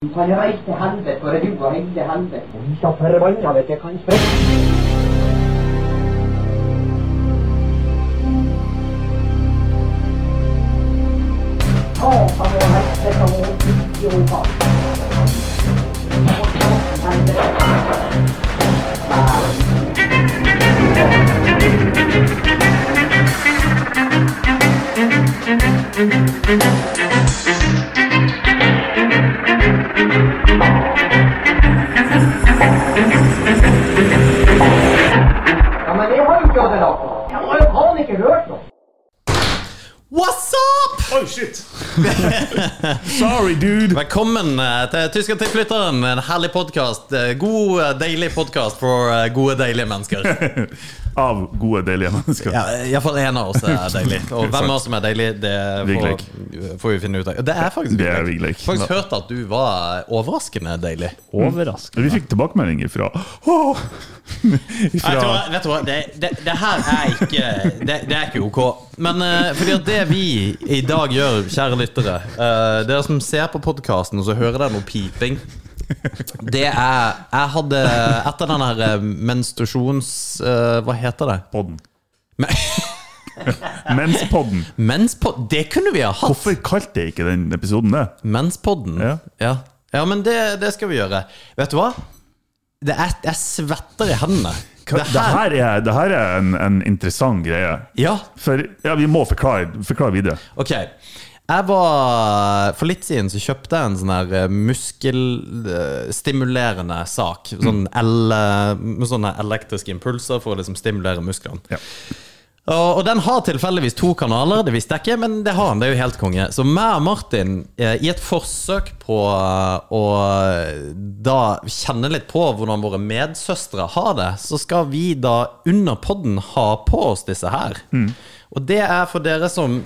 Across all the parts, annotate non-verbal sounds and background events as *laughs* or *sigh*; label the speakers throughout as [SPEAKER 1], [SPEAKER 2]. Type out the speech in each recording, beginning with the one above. [SPEAKER 1] Du kan reise til helvete, for du har reist til helvete. Vi skal forbanna vet jeg kan sprekke. Ja, men jeg har jo ikke hatt det nok. Jeg har jo faen ikke hørt noe.
[SPEAKER 2] What's up?
[SPEAKER 3] Oi,
[SPEAKER 2] *laughs*
[SPEAKER 3] shit! Sorry, dude!
[SPEAKER 2] Velkommen eh, til Tyskertilflytteren. En herlig podkast. God, eh, deilig podkast for eh, gode, deilige mennesker.
[SPEAKER 3] *laughs* Av gode, deilige mennesker.
[SPEAKER 2] Ja, Iallfall én av oss *laughs* er deilig. Og hvem av oss som er deilig, det får, får vi finne ut av. Det er faktisk
[SPEAKER 3] Det er
[SPEAKER 2] Vigleik.
[SPEAKER 3] Vigleik.
[SPEAKER 2] Faktisk hørt at du var overraskende deilig.
[SPEAKER 4] Overraskende.
[SPEAKER 3] Vi fikk tilbakemeldinger fra Åh!
[SPEAKER 2] *laughs* Jeg tror,
[SPEAKER 3] Fra
[SPEAKER 2] vet du hva, det, det, det her er ikke Det, det er ikke ok. Men eh, fordi at det vi i dag gjør, kjære lyttere eh, Dere som ser på podkasten og så hører dere noe piping Det er Jeg hadde Etter den her eh, menstruasjons... eh, hva heter det?
[SPEAKER 3] podden.
[SPEAKER 2] Men,
[SPEAKER 3] *laughs* Menspodden.
[SPEAKER 2] menspod... Det kunne vi ha hatt!
[SPEAKER 3] Hvorfor kalte jeg ikke den episoden det?
[SPEAKER 2] Menspodden?
[SPEAKER 3] Ja.
[SPEAKER 2] ja. Ja, men det, det skal vi gjøre. Vet du hva? Det er, jeg svetter i hendene.
[SPEAKER 3] Det her er, det her er en, en interessant greie.
[SPEAKER 2] Ja,
[SPEAKER 3] For ja, vi må forklare, forklare videre.
[SPEAKER 2] ok. Jeg var, For litt siden så kjøpte jeg en sånn her eh, muskelstimulerende sak. Sånn el, med sånne elektriske impulser for å liksom stimulere musklene.
[SPEAKER 3] Ja.
[SPEAKER 2] Og, og den har tilfeldigvis to kanaler, det visste jeg ikke, men det har han. Det er jo helt konge. Så meg og Martin, eh, i et forsøk på eh, å da kjenne litt på hvordan våre medsøstre har det, så skal vi da under podden ha på oss disse her. Og det er for dere som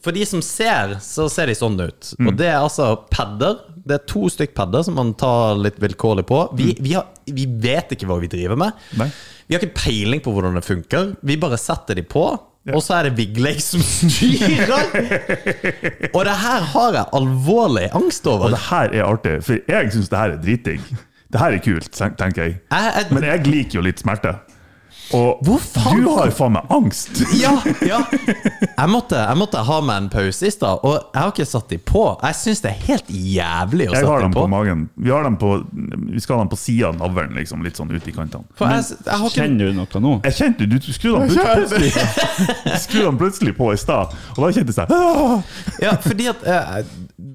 [SPEAKER 2] For de som ser, så ser de sånn ut. Og det er altså padder. Det er to stykk padder som man tar litt vilkårlig på. Vi, vi, har, vi vet ikke hva vi driver med.
[SPEAKER 3] Nei.
[SPEAKER 2] Vi har ikke peiling på hvordan det funker. Vi bare setter de på, og så er det Vigleik som styrer! og det her har jeg alvorlig angst
[SPEAKER 3] Og
[SPEAKER 2] over.
[SPEAKER 3] det her er artig, for jeg syns det her er dritdigg. Det her er kult, ten- tenker jeg.
[SPEAKER 2] Jeg,
[SPEAKER 3] Men
[SPEAKER 2] jeg,
[SPEAKER 3] jeg liker jo litt smerte. Og
[SPEAKER 2] Hvor faen-
[SPEAKER 3] du har faen meg angst!
[SPEAKER 2] *laughs* ja, ja. Jeg, måtte, jeg måtte ha meg en pause i stad, og jeg har ikke satt de på. Jeg syns det er helt jævlig å
[SPEAKER 3] Jeg
[SPEAKER 2] sette
[SPEAKER 3] har
[SPEAKER 2] de
[SPEAKER 3] dem på
[SPEAKER 2] på.
[SPEAKER 3] magen. Vi, har dem på, vi skal ha dem på sida av navlen, liksom, litt sånn ut i kantene.
[SPEAKER 2] For jeg, jeg har ikke
[SPEAKER 4] Kjenner du noe nå?
[SPEAKER 3] Jeg kjente du skrudde dem plutselig, skrudde dem plutselig på i stad, og da kjentes jeg sånn, «Åh!»
[SPEAKER 2] Ja, fordi at eh,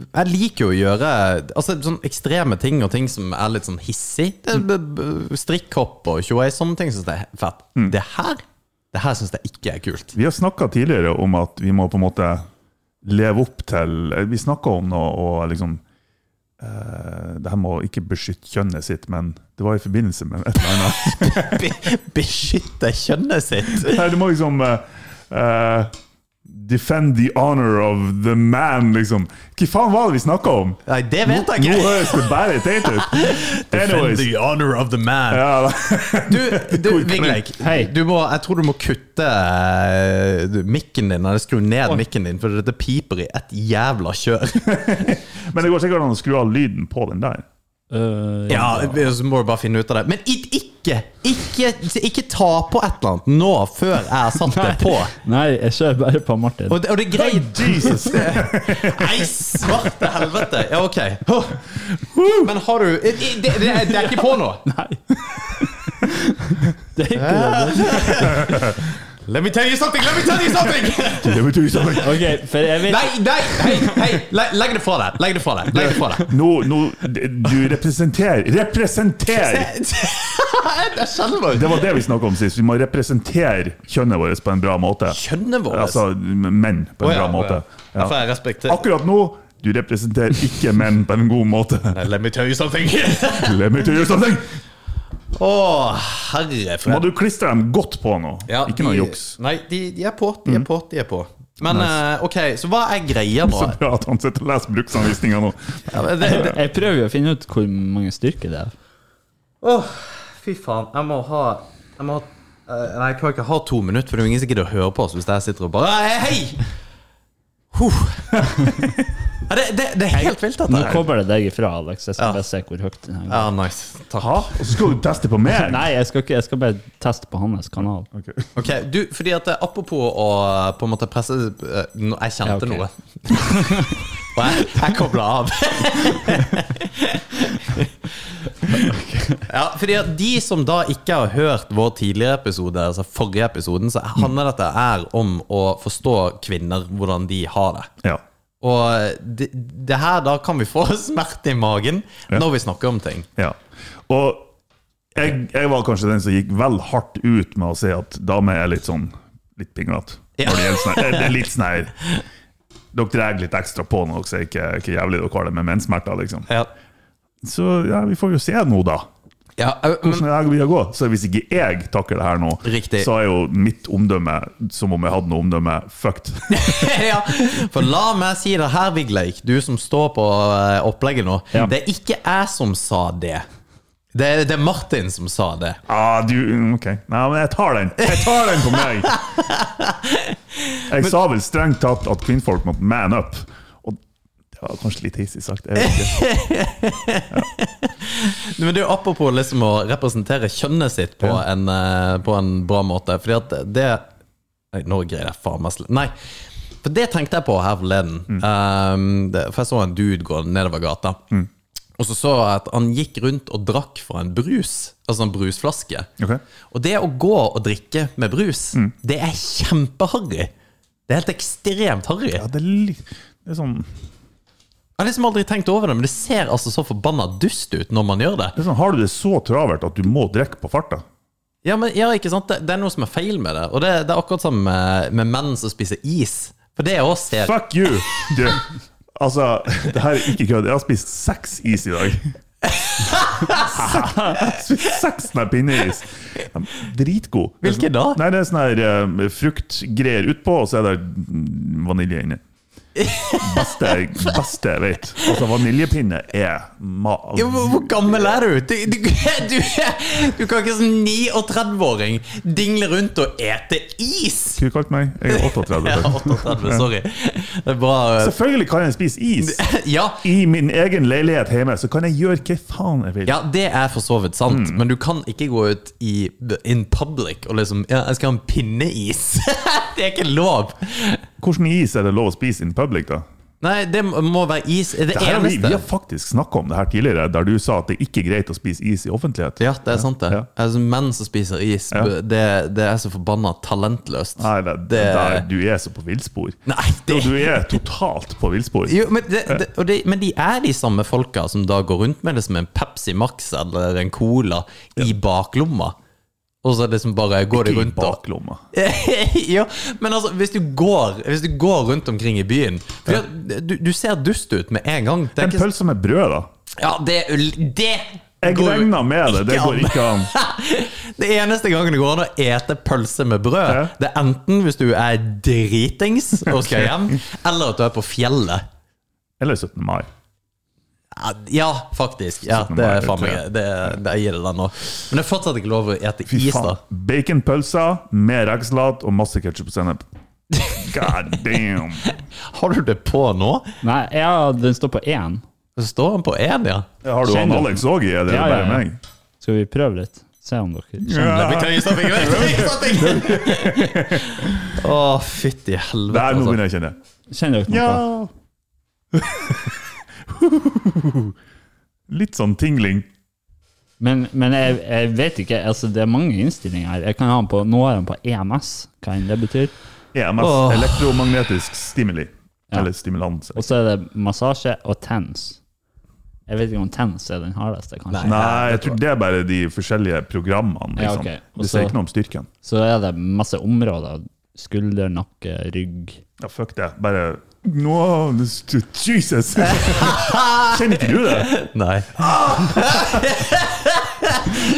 [SPEAKER 2] jeg liker jo å gjøre Altså sånn ekstreme ting og ting som er litt sånn hissig. Det er b- b- Strikkhopp og tjoei, sånne ting syns jeg er fett. Det her Det her syns jeg ikke er kult. *laughs*
[SPEAKER 3] Vi har snakka tidligere om at vi må på en måte leve opp til eh, Vi snakka om noe og liksom eh, Det her må ikke beskytte kjønnet sitt, men det var i forbindelse med et eller annet. *laughs*
[SPEAKER 2] Be beskytte kjønnet sitt!
[SPEAKER 3] Nei, du må liksom eh, eh, Defend the honor of the man, liksom. Hva faen var det vi snakka om?
[SPEAKER 2] Nei, det vet jeg
[SPEAKER 3] Nå
[SPEAKER 2] ikke!
[SPEAKER 3] høres det bare teit
[SPEAKER 2] *laughs*
[SPEAKER 3] ut. Anyways.
[SPEAKER 2] honor of the man.
[SPEAKER 3] Ja, da. *laughs*
[SPEAKER 2] Du, du Vigleik,
[SPEAKER 4] Hei.
[SPEAKER 2] du må, jeg tror du må kutte eh, du, mikken din, eller skru ned mikken din, for dette piper i et jævla kjør.
[SPEAKER 3] Men det går sikkert an å skru av lyden på den der.
[SPEAKER 4] Øh,
[SPEAKER 2] Ja, vi- så må du bare finne ut av det. Men it- ikke, ikke, ikke ta på et eller annet nå før jeg har satt det på.
[SPEAKER 4] Nei, jeg kjører bare på Martin.
[SPEAKER 2] Og det, og det er greit.
[SPEAKER 3] Jesus!
[SPEAKER 2] *laughs* Nei, svarte helvete! Ja, ok. Huh. Men har du Det, det, det er- det er ikke på nå?
[SPEAKER 4] Nei. Det er ikke det.
[SPEAKER 2] Let me tell you something! Let me tell you something!
[SPEAKER 3] Det betyr sånn.
[SPEAKER 4] Ok, for jeg vet
[SPEAKER 2] *laughs* Nei, nei, hei, hei! le- Legg det fra deg. Legg det fra deg. Legg det fra deg.
[SPEAKER 3] Nå, nå, du representerer Representer!
[SPEAKER 2] *laughs* Jeg skjelver meg.
[SPEAKER 3] Det var det vi snakka om sist. Vi må representere kjønnet vårt på en bra måte.
[SPEAKER 2] Kjønnet vårt?
[SPEAKER 3] Altså menn på en
[SPEAKER 2] Å ja,
[SPEAKER 3] bra måte.
[SPEAKER 2] å ja. Da får jeg respektere-
[SPEAKER 3] Akkurat nå du representerer ikke menn på en god måte.
[SPEAKER 2] Let me tell you something!
[SPEAKER 3] Let me tell you something!
[SPEAKER 2] Å, herre fred.
[SPEAKER 3] Må du klistre dem godt på nå.
[SPEAKER 2] Ja,
[SPEAKER 3] ikke noe
[SPEAKER 2] de-
[SPEAKER 3] juks.
[SPEAKER 2] Nei, de, de er på. De er på. de er på Men eh, OK, så hva er greia nå?
[SPEAKER 3] Så bra at han sitter og leser bruksanvisninga nå.
[SPEAKER 2] Ja, men det, det.
[SPEAKER 4] Jeg prøver jo å finne ut hvor mange styrker det er.
[SPEAKER 2] Åh, fy faen. Jeg må ha Jeg må ha eh, Nei, jeg kan ikke ha to minutter, for det er jo ingen som gidder å høre på oss hvis jeg sitter og bare «Hei, Hei! Huh. *laughs* Ja, det, det, det er helt vilt,
[SPEAKER 4] Nå
[SPEAKER 2] dette her.
[SPEAKER 4] kommer det deg ifra, Alex. Jeg skal
[SPEAKER 2] Ja.
[SPEAKER 4] bare se hvor høyt den her
[SPEAKER 2] Ja,
[SPEAKER 4] går.
[SPEAKER 2] nice. Takk.
[SPEAKER 3] Hæ? Og så skal du teste på meg?
[SPEAKER 4] Nei, jeg skal, ikke, jeg skal bare teste på hans kanal.
[SPEAKER 3] Ok.
[SPEAKER 2] Ok, du, fordi at eh, apropos å på en måte presse eh, nå- Jeg kjente
[SPEAKER 4] Ja, ok.
[SPEAKER 2] noe. *laughs* Og jeg, jeg kobla *laughs* av. ja, fordi at de som da ikke har hørt vår tidligere episode, altså forrige episoden, så handler dette her om å forstå kvinner, hvordan de har det.
[SPEAKER 3] Ja.
[SPEAKER 2] Og eh, det, det her da kan vi få *laughs* smerte i magen når vi snakker om ting.
[SPEAKER 3] Ja. Og jeg, jeg var kanskje den som gikk vel hardt ut med å si at damer er litt sånn litt pinglete.
[SPEAKER 2] Ja.
[SPEAKER 3] Når det gjelder sånn her- det er litt sånn her Dere drar litt ekstra på når dere sier ikke hvor jævlig dere har det med menssmerter, liksom.
[SPEAKER 2] Ja,
[SPEAKER 3] Så ja, vi får jo se nå, da.
[SPEAKER 2] ja eh, men,
[SPEAKER 3] Hvordan det her vil gå. Så hvis ikke jeg takler det her nå,
[SPEAKER 2] Riktig.
[SPEAKER 3] så er jo mitt omdømme som om jeg hadde noe omdømme fucked.
[SPEAKER 2] ja, for la meg si det her, Vigleik, du som står på eh, opplegget nå.
[SPEAKER 4] Ja.
[SPEAKER 2] Det er ikke jeg som sa det. Det er, det er Martin som sa det.
[SPEAKER 3] Ah, du, mm, ok. Nei, men jeg tar den. Jeg tar den på meg. Jeg sa vel strengt tatt at kvinnfolk må man up. Og det var kanskje litt hissig sagt. Jeg vet ikke.
[SPEAKER 2] Men det er jo apropos liksom å representere kjønnet sitt på,
[SPEAKER 3] Ja.
[SPEAKER 2] en, eh, på en bra måte. Fordi at det Nei, nå greier jeg faen meg sl- Nei. For det tenkte jeg på her forleden. Um, det, for jeg så en dude gå nedover gata. Og så så jeg at han gikk rundt og drakk fra en brus, altså en brusflaske.
[SPEAKER 3] Ok.
[SPEAKER 2] Og det å gå og drikke med brus,
[SPEAKER 3] Mm.
[SPEAKER 2] det er kjempeharry. Det er helt ekstremt harry.
[SPEAKER 3] Ja, det er litt det er sånn,
[SPEAKER 2] Jeg har liksom aldri tenkt over det, men det ser altså så forbanna dust ut når man gjør det.
[SPEAKER 3] det er sånn, Har du det så travelt at du må drikke på farta?
[SPEAKER 2] Ja, men ja, ikke sant? Det, det er noe som er feil med det. Og det, det er akkurat som med, med menn som spiser is. For det òg ser
[SPEAKER 3] Fuck you! Du, altså, det her er ikke kødd. Jeg har spist seks is i dag. Seks- Spist seks sånne pinneis. De er Dritgod. Det er
[SPEAKER 2] Hvilke da?
[SPEAKER 3] sånn- Nei, Det er sånn her eh, fruktgreier utpå, og så er det mm, vanilje inni. Beste, beste jeg vet. Altså, vaniljepinne er ma...
[SPEAKER 2] Ja, hvor, hvor gammel er du? Du, du, *laughs* du, du kan ikke som 39-åring dingle rundt og ete is!
[SPEAKER 3] Hva du kalte meg? Jeg er 38.
[SPEAKER 2] Ja,
[SPEAKER 3] takk.
[SPEAKER 2] 38, sorry. Det er bra.
[SPEAKER 3] Selvfølgelig kan jeg spise is!
[SPEAKER 2] Ja,
[SPEAKER 3] I min egen leilighet hjemme så kan jeg gjøre hva faen jeg vil.
[SPEAKER 2] Ja, det er for så vidt
[SPEAKER 3] Mm.
[SPEAKER 2] sant, men du kan ikke gå ut i in public og liksom ja, 'Jeg skal ha en pinneis'. *laughs* det er ikke lov!
[SPEAKER 3] Hvordan is er det lov å spise in public, da?
[SPEAKER 2] Nei, det må være is. Det,
[SPEAKER 3] Det her, har vi, vi
[SPEAKER 2] eneste.
[SPEAKER 3] har faktisk snakka om det her tidligere, der du sa at det ikke er greit å spise is i offentlighet.
[SPEAKER 2] Ja, det er sant, det.
[SPEAKER 3] Ja.
[SPEAKER 2] Altså, menn som spiser is,
[SPEAKER 3] Ja.
[SPEAKER 2] det, det er så forbanna talentløst.
[SPEAKER 3] Nei, det, det, der, du er så på villspor.
[SPEAKER 2] Nei, det
[SPEAKER 3] Jo, Du er totalt på villspor.
[SPEAKER 2] jo, men, det, det, og det, men de er de samme folka som da går rundt med det som en Pepsi Max eller en Cola i baklomma. Og så liksom bare går de
[SPEAKER 3] Ikke i
[SPEAKER 2] rundt og
[SPEAKER 3] baklomma.
[SPEAKER 2] *laughs* ja, men altså, hvis du går Hvis du går rundt omkring i byen for du, du ser dust ut med en gang. Det er
[SPEAKER 3] En
[SPEAKER 2] ikke,
[SPEAKER 3] pølse med brød, da.
[SPEAKER 2] ja, det, det
[SPEAKER 3] Jeg
[SPEAKER 2] går jo
[SPEAKER 3] regna med det, det
[SPEAKER 2] ikke
[SPEAKER 3] går
[SPEAKER 2] an.
[SPEAKER 3] ikke an.
[SPEAKER 2] *laughs* Det eneste gangen det går an å ete pølse med brød,
[SPEAKER 3] Ja.
[SPEAKER 2] det er enten hvis du er
[SPEAKER 3] *laughs*
[SPEAKER 2] dritings og skal hjem, eller at du er på fjellet.
[SPEAKER 3] Eller 17. mai.
[SPEAKER 2] Ja, faktisk. Ja,
[SPEAKER 3] Sånn
[SPEAKER 2] det
[SPEAKER 3] var
[SPEAKER 2] er
[SPEAKER 3] det,
[SPEAKER 2] faen
[SPEAKER 3] tror
[SPEAKER 2] meg
[SPEAKER 3] jeg.
[SPEAKER 2] det, det jeg gir det den nå. Men det er fortsatt ikke lov å ete
[SPEAKER 3] Fy
[SPEAKER 2] is, da.
[SPEAKER 3] faen. Baconpølser med rekesalat og masse ketsjup og sennep. God damn!
[SPEAKER 2] Har du det på nå?
[SPEAKER 4] Nei, ja, den står på én.
[SPEAKER 2] Så står han på én, ja.
[SPEAKER 3] Har du han
[SPEAKER 4] Kjenner du-
[SPEAKER 3] Alex òg i, eller er det
[SPEAKER 4] Ja, ja,
[SPEAKER 3] bare
[SPEAKER 4] ja.
[SPEAKER 3] meg?
[SPEAKER 4] Skal vi prøve litt? Se om dere kjenner
[SPEAKER 2] Let me tell you something, let me tell you something. *laughs* Å, fytti helvete.
[SPEAKER 3] Der, nå
[SPEAKER 2] altså.
[SPEAKER 3] begynner jeg å kjenne.
[SPEAKER 4] Kjenner dere noe?
[SPEAKER 3] Ja! *laughs* Litt sånn tingling.
[SPEAKER 4] Men, men jeg, jeg vet ikke. Altså, det er mange innstillinger her. Jeg kan ha den på, nå har jeg den på EMS, hva enn det betyr.
[SPEAKER 3] EMS,
[SPEAKER 2] Åh.
[SPEAKER 3] E elektromagnetisk stimuli.
[SPEAKER 4] Ja.
[SPEAKER 3] Eller stimulans.
[SPEAKER 4] Og så er det massasje og TENS. Jeg vet ikke om TENS er den hardeste, kanskje.
[SPEAKER 3] Nei, jeg tror det er bare de forskjellige programmene.
[SPEAKER 4] Ja,
[SPEAKER 3] Liksom.
[SPEAKER 4] ok. Og
[SPEAKER 3] Det sier
[SPEAKER 4] så-
[SPEAKER 3] ikke noe om styrken.
[SPEAKER 4] Så er det masse områder. Skulder, nakke, rygg.
[SPEAKER 3] Ja, fuck det. Bare Nå Jesus! Kjenner ikke du det?
[SPEAKER 2] Nei. *laughs*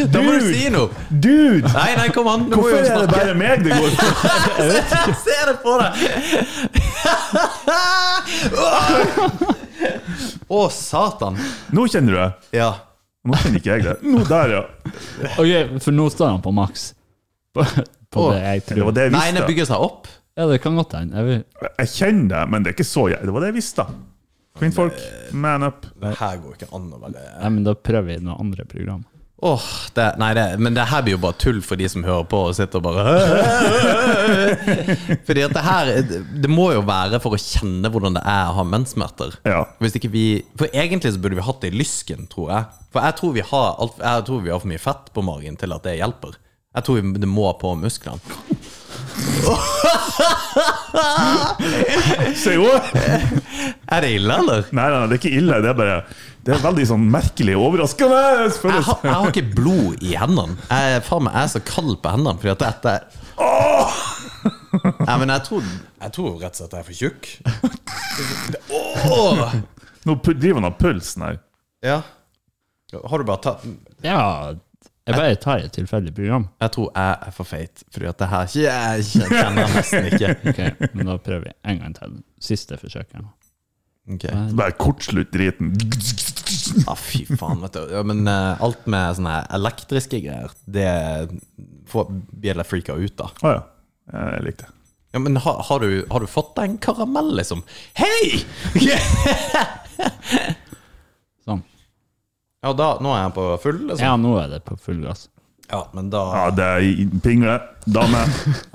[SPEAKER 2] da må du si noe!
[SPEAKER 3] Dude!
[SPEAKER 2] Nei, nei, kom an. Du må
[SPEAKER 3] Hvorfor
[SPEAKER 2] jo
[SPEAKER 3] er det
[SPEAKER 2] *laughs* snakke.
[SPEAKER 3] bare meg det går på?
[SPEAKER 2] Jeg ser det på deg! *laughs* Å, satan.
[SPEAKER 3] Nå kjenner du det.
[SPEAKER 2] Ja.
[SPEAKER 3] Nå kjenner ikke jeg det. Nå der, ja.
[SPEAKER 4] Ok, for nå står han på maks. På, på
[SPEAKER 2] Åh.
[SPEAKER 4] det jeg
[SPEAKER 3] Det var
[SPEAKER 4] tror.
[SPEAKER 3] det jeg
[SPEAKER 2] Nei, det
[SPEAKER 3] visste.
[SPEAKER 2] bygger seg opp.
[SPEAKER 4] Ja, det kan godt hende. Jeg vil-
[SPEAKER 3] Jeg kjenner det, men det er ikke så jæ- Det var det jeg visste. Kvinnfolk, man up.
[SPEAKER 2] Her går ikke an å være
[SPEAKER 4] Nei, men da prøver vi noe andre program.
[SPEAKER 2] Åh, det, Nei, det, men det her blir jo bare tull for de som hører på og sitter og bare *laughs* Fordi at det her Det må jo være for å kjenne hvordan det er å ha menssmerter.
[SPEAKER 3] Ja.
[SPEAKER 2] Hvis ikke vi For egentlig så burde vi hatt det i lysken, tror jeg. For jeg tror vi har, alt, jeg tror vi har for mye fett på magen til at det hjelper. Jeg tror vi- det må på musklene.
[SPEAKER 3] Say what?
[SPEAKER 2] Er det ille, eller?
[SPEAKER 3] Nei, nei, det er ikke ille. Det er bare Det er veldig sånn merkelig overraskende
[SPEAKER 2] Jeg har,
[SPEAKER 3] følelse.
[SPEAKER 2] jeg har ikke blod i hendene. Jeg, er- faen meg, jeg er så kald på hendene fordi at dette Nei, men jeg tror, jeg tror rett og slett jeg er for tjukk. Åh!
[SPEAKER 3] Nå pu- driver han av pulsen her.
[SPEAKER 2] Ja. Har du bare tatt
[SPEAKER 4] Ja, jeg bare tar et tilfeldig program.
[SPEAKER 2] Jeg tror jeg er for feit, fordi at det her ikke- Jeg kjenner jeg nesten ikke.
[SPEAKER 4] Ok, men da prøver vi en gang til. Siste forsøket. her nå.
[SPEAKER 2] Ok.
[SPEAKER 3] Bare kortslutt driten.
[SPEAKER 2] Ja, fy faen, vet du. Ja, men eh, alt med sånne elektriske greier, det får blir det freaka ut, da.
[SPEAKER 3] Å ja. Jeg likte det.
[SPEAKER 2] Ja, men har, har, du, har du fått deg en karamell, liksom? *laughs* Hei!
[SPEAKER 4] Sånn.
[SPEAKER 2] Ja, da, nå er jeg på full, liksom.
[SPEAKER 4] Ja, nå er det på full gass.
[SPEAKER 2] Ja, men da
[SPEAKER 3] Ja, det er i- pingle. Dame.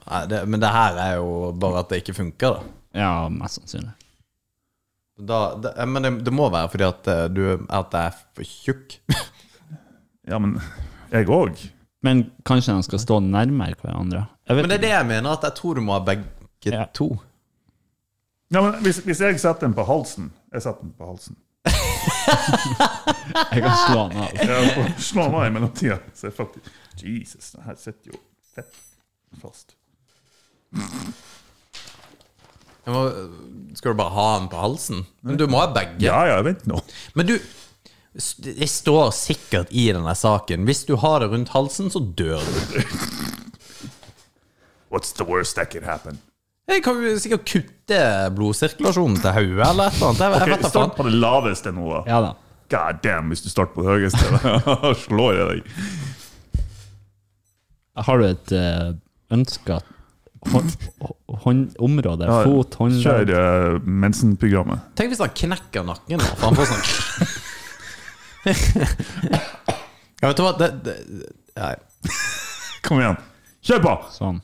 [SPEAKER 2] nei, det, Men det her er jo bare at det ikke funker, da.
[SPEAKER 4] Ja, mest sannsynlig.
[SPEAKER 2] da det, eh, men det, det må være fordi at eh, du at jeg er for tjukk. *laughs*
[SPEAKER 3] Ja, men jeg òg.
[SPEAKER 4] Men kanskje de skal stå nærmere hverandre. Jeg vet
[SPEAKER 2] Men det er det jeg mener, at jeg tror du må ha begge
[SPEAKER 4] Ja.
[SPEAKER 2] to.
[SPEAKER 3] Ja, men hvis, hvis jeg setter den på halsen Jeg setter den på halsen.
[SPEAKER 4] ikke. Jeg kan slå han av.
[SPEAKER 3] Jeg får slå meg i mellomtida. Så jeg faktisk Jesus, det her sitter jo fett fast.
[SPEAKER 2] Jeg må, skal du bare ha den på halsen? Men du må ha begge.
[SPEAKER 3] Ja, ja, vent nå.
[SPEAKER 2] Men du s- Det står sikkert i denne saken. Hvis du har det rundt halsen, så dør du.
[SPEAKER 3] What's the worst that can happen?
[SPEAKER 2] Jeg kan jo sikkert kutte blodsirkulasjonen til hodet eller et eller annet. Jeg, jeg
[SPEAKER 3] Ok,
[SPEAKER 2] vet da faen.
[SPEAKER 3] start på det laveste nå, da.
[SPEAKER 4] Ja da.
[SPEAKER 3] God damn, hvis du starter på det høyeste, *laughs* slår jeg deg.
[SPEAKER 4] Har du et uh, ønska hånd, hånd, område?
[SPEAKER 3] Ja,
[SPEAKER 4] Fot, håndledd?
[SPEAKER 3] Kjør eh, Mensen-programmet.
[SPEAKER 2] Tenk hvis han knekker nakken nå, for han får sånn *laughs* Ja, vet du hva det, det, nei.
[SPEAKER 3] Kom igjen. Kjør på!
[SPEAKER 4] Sånn.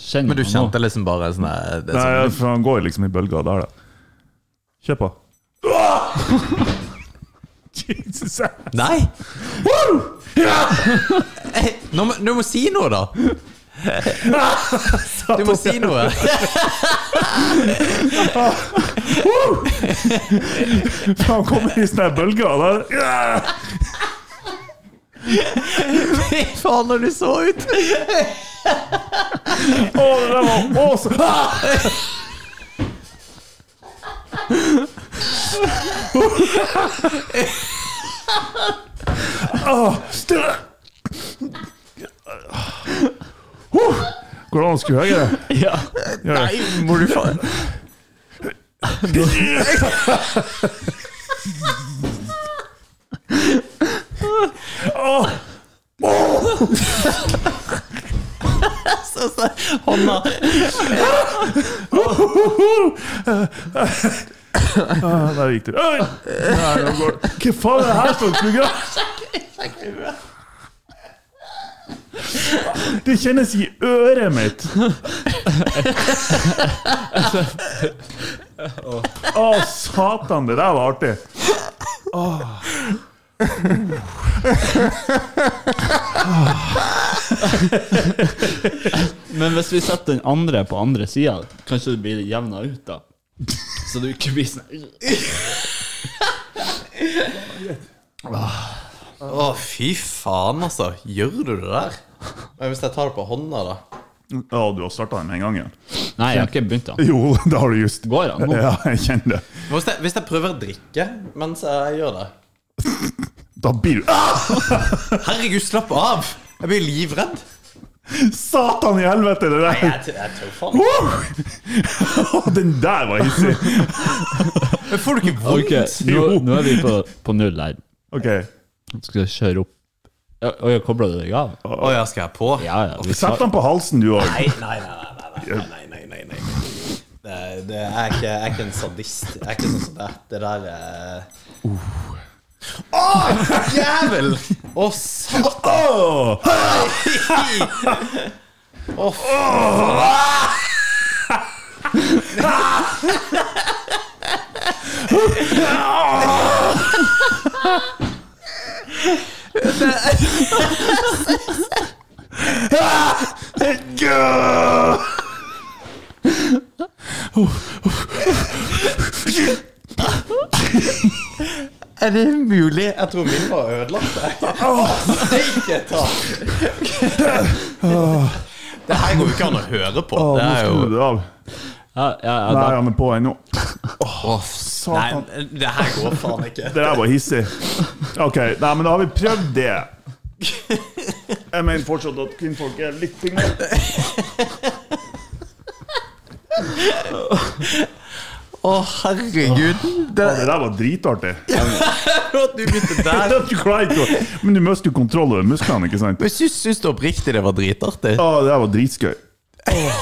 [SPEAKER 4] Kjenner
[SPEAKER 2] Men du
[SPEAKER 4] han nå?
[SPEAKER 2] kjente liksom bare sånn der- det,
[SPEAKER 3] Nei,
[SPEAKER 2] er sånn-
[SPEAKER 3] for han går liksom i bølger der, da. Kjør
[SPEAKER 2] *laughs*
[SPEAKER 3] på. Jesus.
[SPEAKER 2] Nei! Eh, Nå må, du må si noe, da! *laughs* Du må si noe. *laughs*
[SPEAKER 3] Han kommer i sånne bølger der. Ja!
[SPEAKER 2] Fy faen, når du så ut!
[SPEAKER 3] Å, det der var
[SPEAKER 2] *laughs*
[SPEAKER 3] awesome! Ah! Åh, stille! Huh! Går det an å skru høyere?
[SPEAKER 4] Ja.
[SPEAKER 3] Gjør det.
[SPEAKER 2] Nei, må du faen Så- så- Hånda
[SPEAKER 3] Ja, der gikk det. Oi! Nei, nå går det. Hva faen er det her som plugger? Det kjennes i øret mitt. Å, satan, det der var artig. Åh.
[SPEAKER 4] Men hvis vi setter den andre på andre sida, kanskje det blir jevna ut, da. Så du ikke blir sånn
[SPEAKER 2] Å, fy faen, altså. Gjør du det der? Men hvis jeg tar det på hånda, da?
[SPEAKER 3] Ja, du har starta den med en gang? Ja.
[SPEAKER 4] Nei, jeg har ikke begynt, da.
[SPEAKER 3] Jo, det har du just.
[SPEAKER 4] Går han nå?
[SPEAKER 3] Ja, jeg kjenner det.
[SPEAKER 2] Hvis jeg, hvis jeg prøver å drikke mens jeg gjør det
[SPEAKER 3] Da blir du ah!
[SPEAKER 2] Herregud, slapp av! Jeg blir livredd.
[SPEAKER 3] Satan i helvete, det der!
[SPEAKER 2] Jeg, t- jeg tror faen ikke.
[SPEAKER 3] Wow! Den der var hissig!
[SPEAKER 2] Men Får du ikke vondt?
[SPEAKER 4] Ok, nå, nå er vi på, på null her.
[SPEAKER 3] Ok,
[SPEAKER 4] Skal jeg kjøre opp Ja, Å, jeg kobla deg av?
[SPEAKER 2] Å ja, skal jeg på?
[SPEAKER 4] Ja, ja. Vi
[SPEAKER 3] Sett
[SPEAKER 4] tar,
[SPEAKER 3] den på halsen, du òg.
[SPEAKER 2] Nei, nei, nei, nei, nei, nei, nei, nei, nei, nei. Det, det, jeg, er ikke, jeg er ikke en sadist. Jeg er ikke sånn som det. Det der eh. Å, jævel! Å, satan!
[SPEAKER 3] Åh!
[SPEAKER 2] Å, faen.
[SPEAKER 3] Gø!
[SPEAKER 2] Er det mulig? Jeg tror min var ødelagt. Steike ta! Det her går jo ikke an å høre på.
[SPEAKER 3] Åh,
[SPEAKER 2] Det
[SPEAKER 3] Nå
[SPEAKER 2] er jo
[SPEAKER 3] skrur du det av.
[SPEAKER 4] ja, ja, ja,
[SPEAKER 3] Nei,
[SPEAKER 4] da.
[SPEAKER 3] han er på ennå. Satan.
[SPEAKER 2] Nei, det her går faen ikke.
[SPEAKER 3] Det der var hissig. Ok, nei, men da har vi prøvd det. Jeg mener fortsatt at kvinnfolk er litt pigmente.
[SPEAKER 2] Å, herregud. Det
[SPEAKER 3] Det der var dritartig.
[SPEAKER 2] at du begynte der.
[SPEAKER 3] Du klarer ikke å- Men du mister jo kontroll over musklene, ikke
[SPEAKER 2] *laughs*
[SPEAKER 3] sant?
[SPEAKER 2] Men syns, syns du oppriktig det var dritartig?
[SPEAKER 3] Å, det der var dritskøy.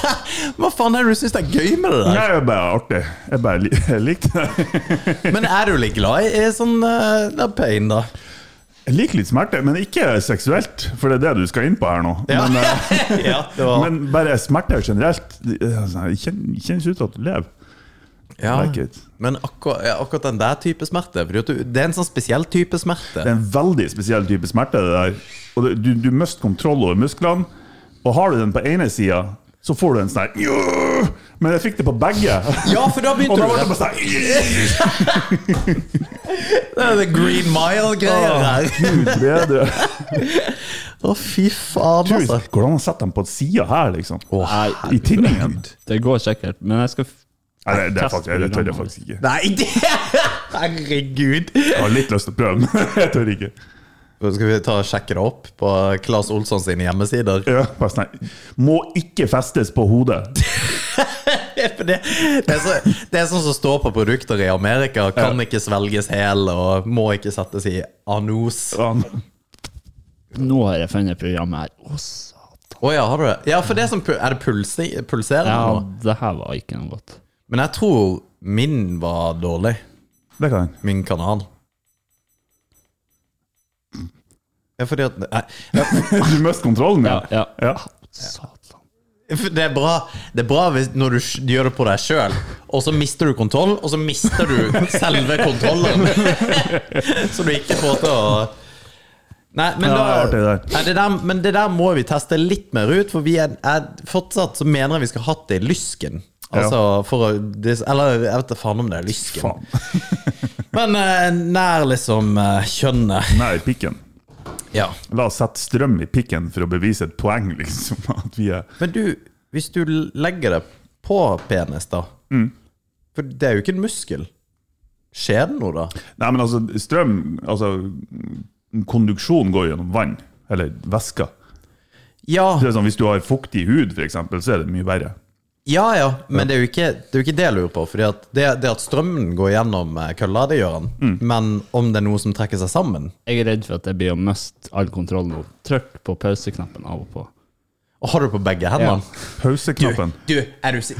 [SPEAKER 2] *laughs* Hva faen er det du syns er gøy med det der?
[SPEAKER 3] Nei, jeg er bare artig. Jeg bare li *laughs* jeg likte det. *laughs*
[SPEAKER 2] Men er du litt glad i i sånn eh, det er pain, da?
[SPEAKER 3] Jeg liker litt smerte, men ikke seksuelt, for det er det du skal inn på her nå. Men, eh,
[SPEAKER 2] ja, *laughs* det var
[SPEAKER 3] men bare smerte generelt. Det eh, sånn, det kjen- kjennes ut at du lever.
[SPEAKER 2] ja.
[SPEAKER 3] like it.
[SPEAKER 2] Men akkurat, ja, akkurat den der type smerte fordi at du, Det er en sånn spesiell type
[SPEAKER 3] Det
[SPEAKER 2] smerte.
[SPEAKER 3] er en veldig spesiell type smerte, det der. Og det, du, du mister kontroll over musklene. Og har du den på ene sida, så får du en sånn her «Jø!» Men jeg fikk det på
[SPEAKER 2] *laughs*
[SPEAKER 3] begge.
[SPEAKER 2] Ja, for da
[SPEAKER 3] Og
[SPEAKER 2] begynte
[SPEAKER 3] da
[SPEAKER 2] du
[SPEAKER 3] var det
[SPEAKER 2] det.
[SPEAKER 3] bare sånn «Jø!»
[SPEAKER 2] Det er det Green Mile-greier der.
[SPEAKER 3] Gud
[SPEAKER 2] *laughs*
[SPEAKER 3] bedre.
[SPEAKER 2] Å, fy faen,
[SPEAKER 3] Tror
[SPEAKER 2] altså.
[SPEAKER 3] jeg- Går det an å sette dem på sida her, liksom?
[SPEAKER 4] Nei,
[SPEAKER 3] I tinningen?
[SPEAKER 4] det går sikkert. Men jeg skal f-
[SPEAKER 3] Nei, det, det, er faktisk, det tør jeg faktisk ikke.
[SPEAKER 2] Nei, det *laughs* Herregud.
[SPEAKER 3] Jeg har litt lyst til å prøve, men *laughs* jeg tør ikke.
[SPEAKER 2] Skal vi ta og sjekke det opp på Claes Olsson sine hjemmesider?
[SPEAKER 3] Ja, bare sånn her, Må ikke festes på hodet.
[SPEAKER 2] *laughs* For det, det, er så, det er sånn som står på produkter i Amerika. Kan ikke svelges hel og må ikke settes i anus. Å
[SPEAKER 3] Sånn.
[SPEAKER 4] Nå har jeg funnet programmet her. Å, satan. ja.
[SPEAKER 2] ja, har du det? Ja, for det er, sånn, pu- er det pulsi, pulserende nå?
[SPEAKER 4] det her var ikke noe godt.
[SPEAKER 2] Men jeg tror min var dårlig.
[SPEAKER 3] Det kan jeg.
[SPEAKER 2] Min kanal. Ja, fordi at nei,
[SPEAKER 3] Du mister kontrollen,
[SPEAKER 4] Ja,
[SPEAKER 3] ja.
[SPEAKER 4] ja.
[SPEAKER 3] Ja.
[SPEAKER 4] Satan.
[SPEAKER 2] for Det er bra, det er bra hvis, når du sj- gjør det på deg sjøl, og så mister du kontroll, og så mister du
[SPEAKER 3] *laughs*
[SPEAKER 2] selve kontrollen. så du ikke får til å Nei, men
[SPEAKER 3] Ja, det er
[SPEAKER 2] da
[SPEAKER 3] artig det der.
[SPEAKER 2] Nei, det der, men det der må vi teste litt mer ut, for vi er, er fortsatt så mener jeg vi skal ha hatt det i lysken. Altså, for å, det, eller jeg vet da faen om det er lysken.
[SPEAKER 3] Faen.
[SPEAKER 2] Men eh, nær liksom eh, kjønnet.
[SPEAKER 3] Nei, pikken.
[SPEAKER 2] Ja.
[SPEAKER 3] La oss sette strøm i pikken for å bevise et poeng, liksom. *laughs* At vi er
[SPEAKER 2] Men du, hvis du legger det på penis, da For det er jo ikke en muskel. Skjer det noe, da?
[SPEAKER 3] Nei, men altså, strøm Altså, konduksjon går gjennom vann. Eller væske.
[SPEAKER 2] Ja,
[SPEAKER 3] Det er sånn, hvis du har fuktig hud, f.eks., så er det mye verre.
[SPEAKER 2] ja, ja. men det er jo ikke det, er jo ikke det jeg lurer på. Fordi at det, det at strømmen går gjennom eh, kølla, det gjør den. Men om det er noe som trekker seg sammen
[SPEAKER 4] Jeg er redd for at jeg blir å miste all kontroll nå. Trykk på pauseknappen av og på.
[SPEAKER 2] Og har du på begge hendene?
[SPEAKER 3] Pauseknappen.
[SPEAKER 2] Du, er du si...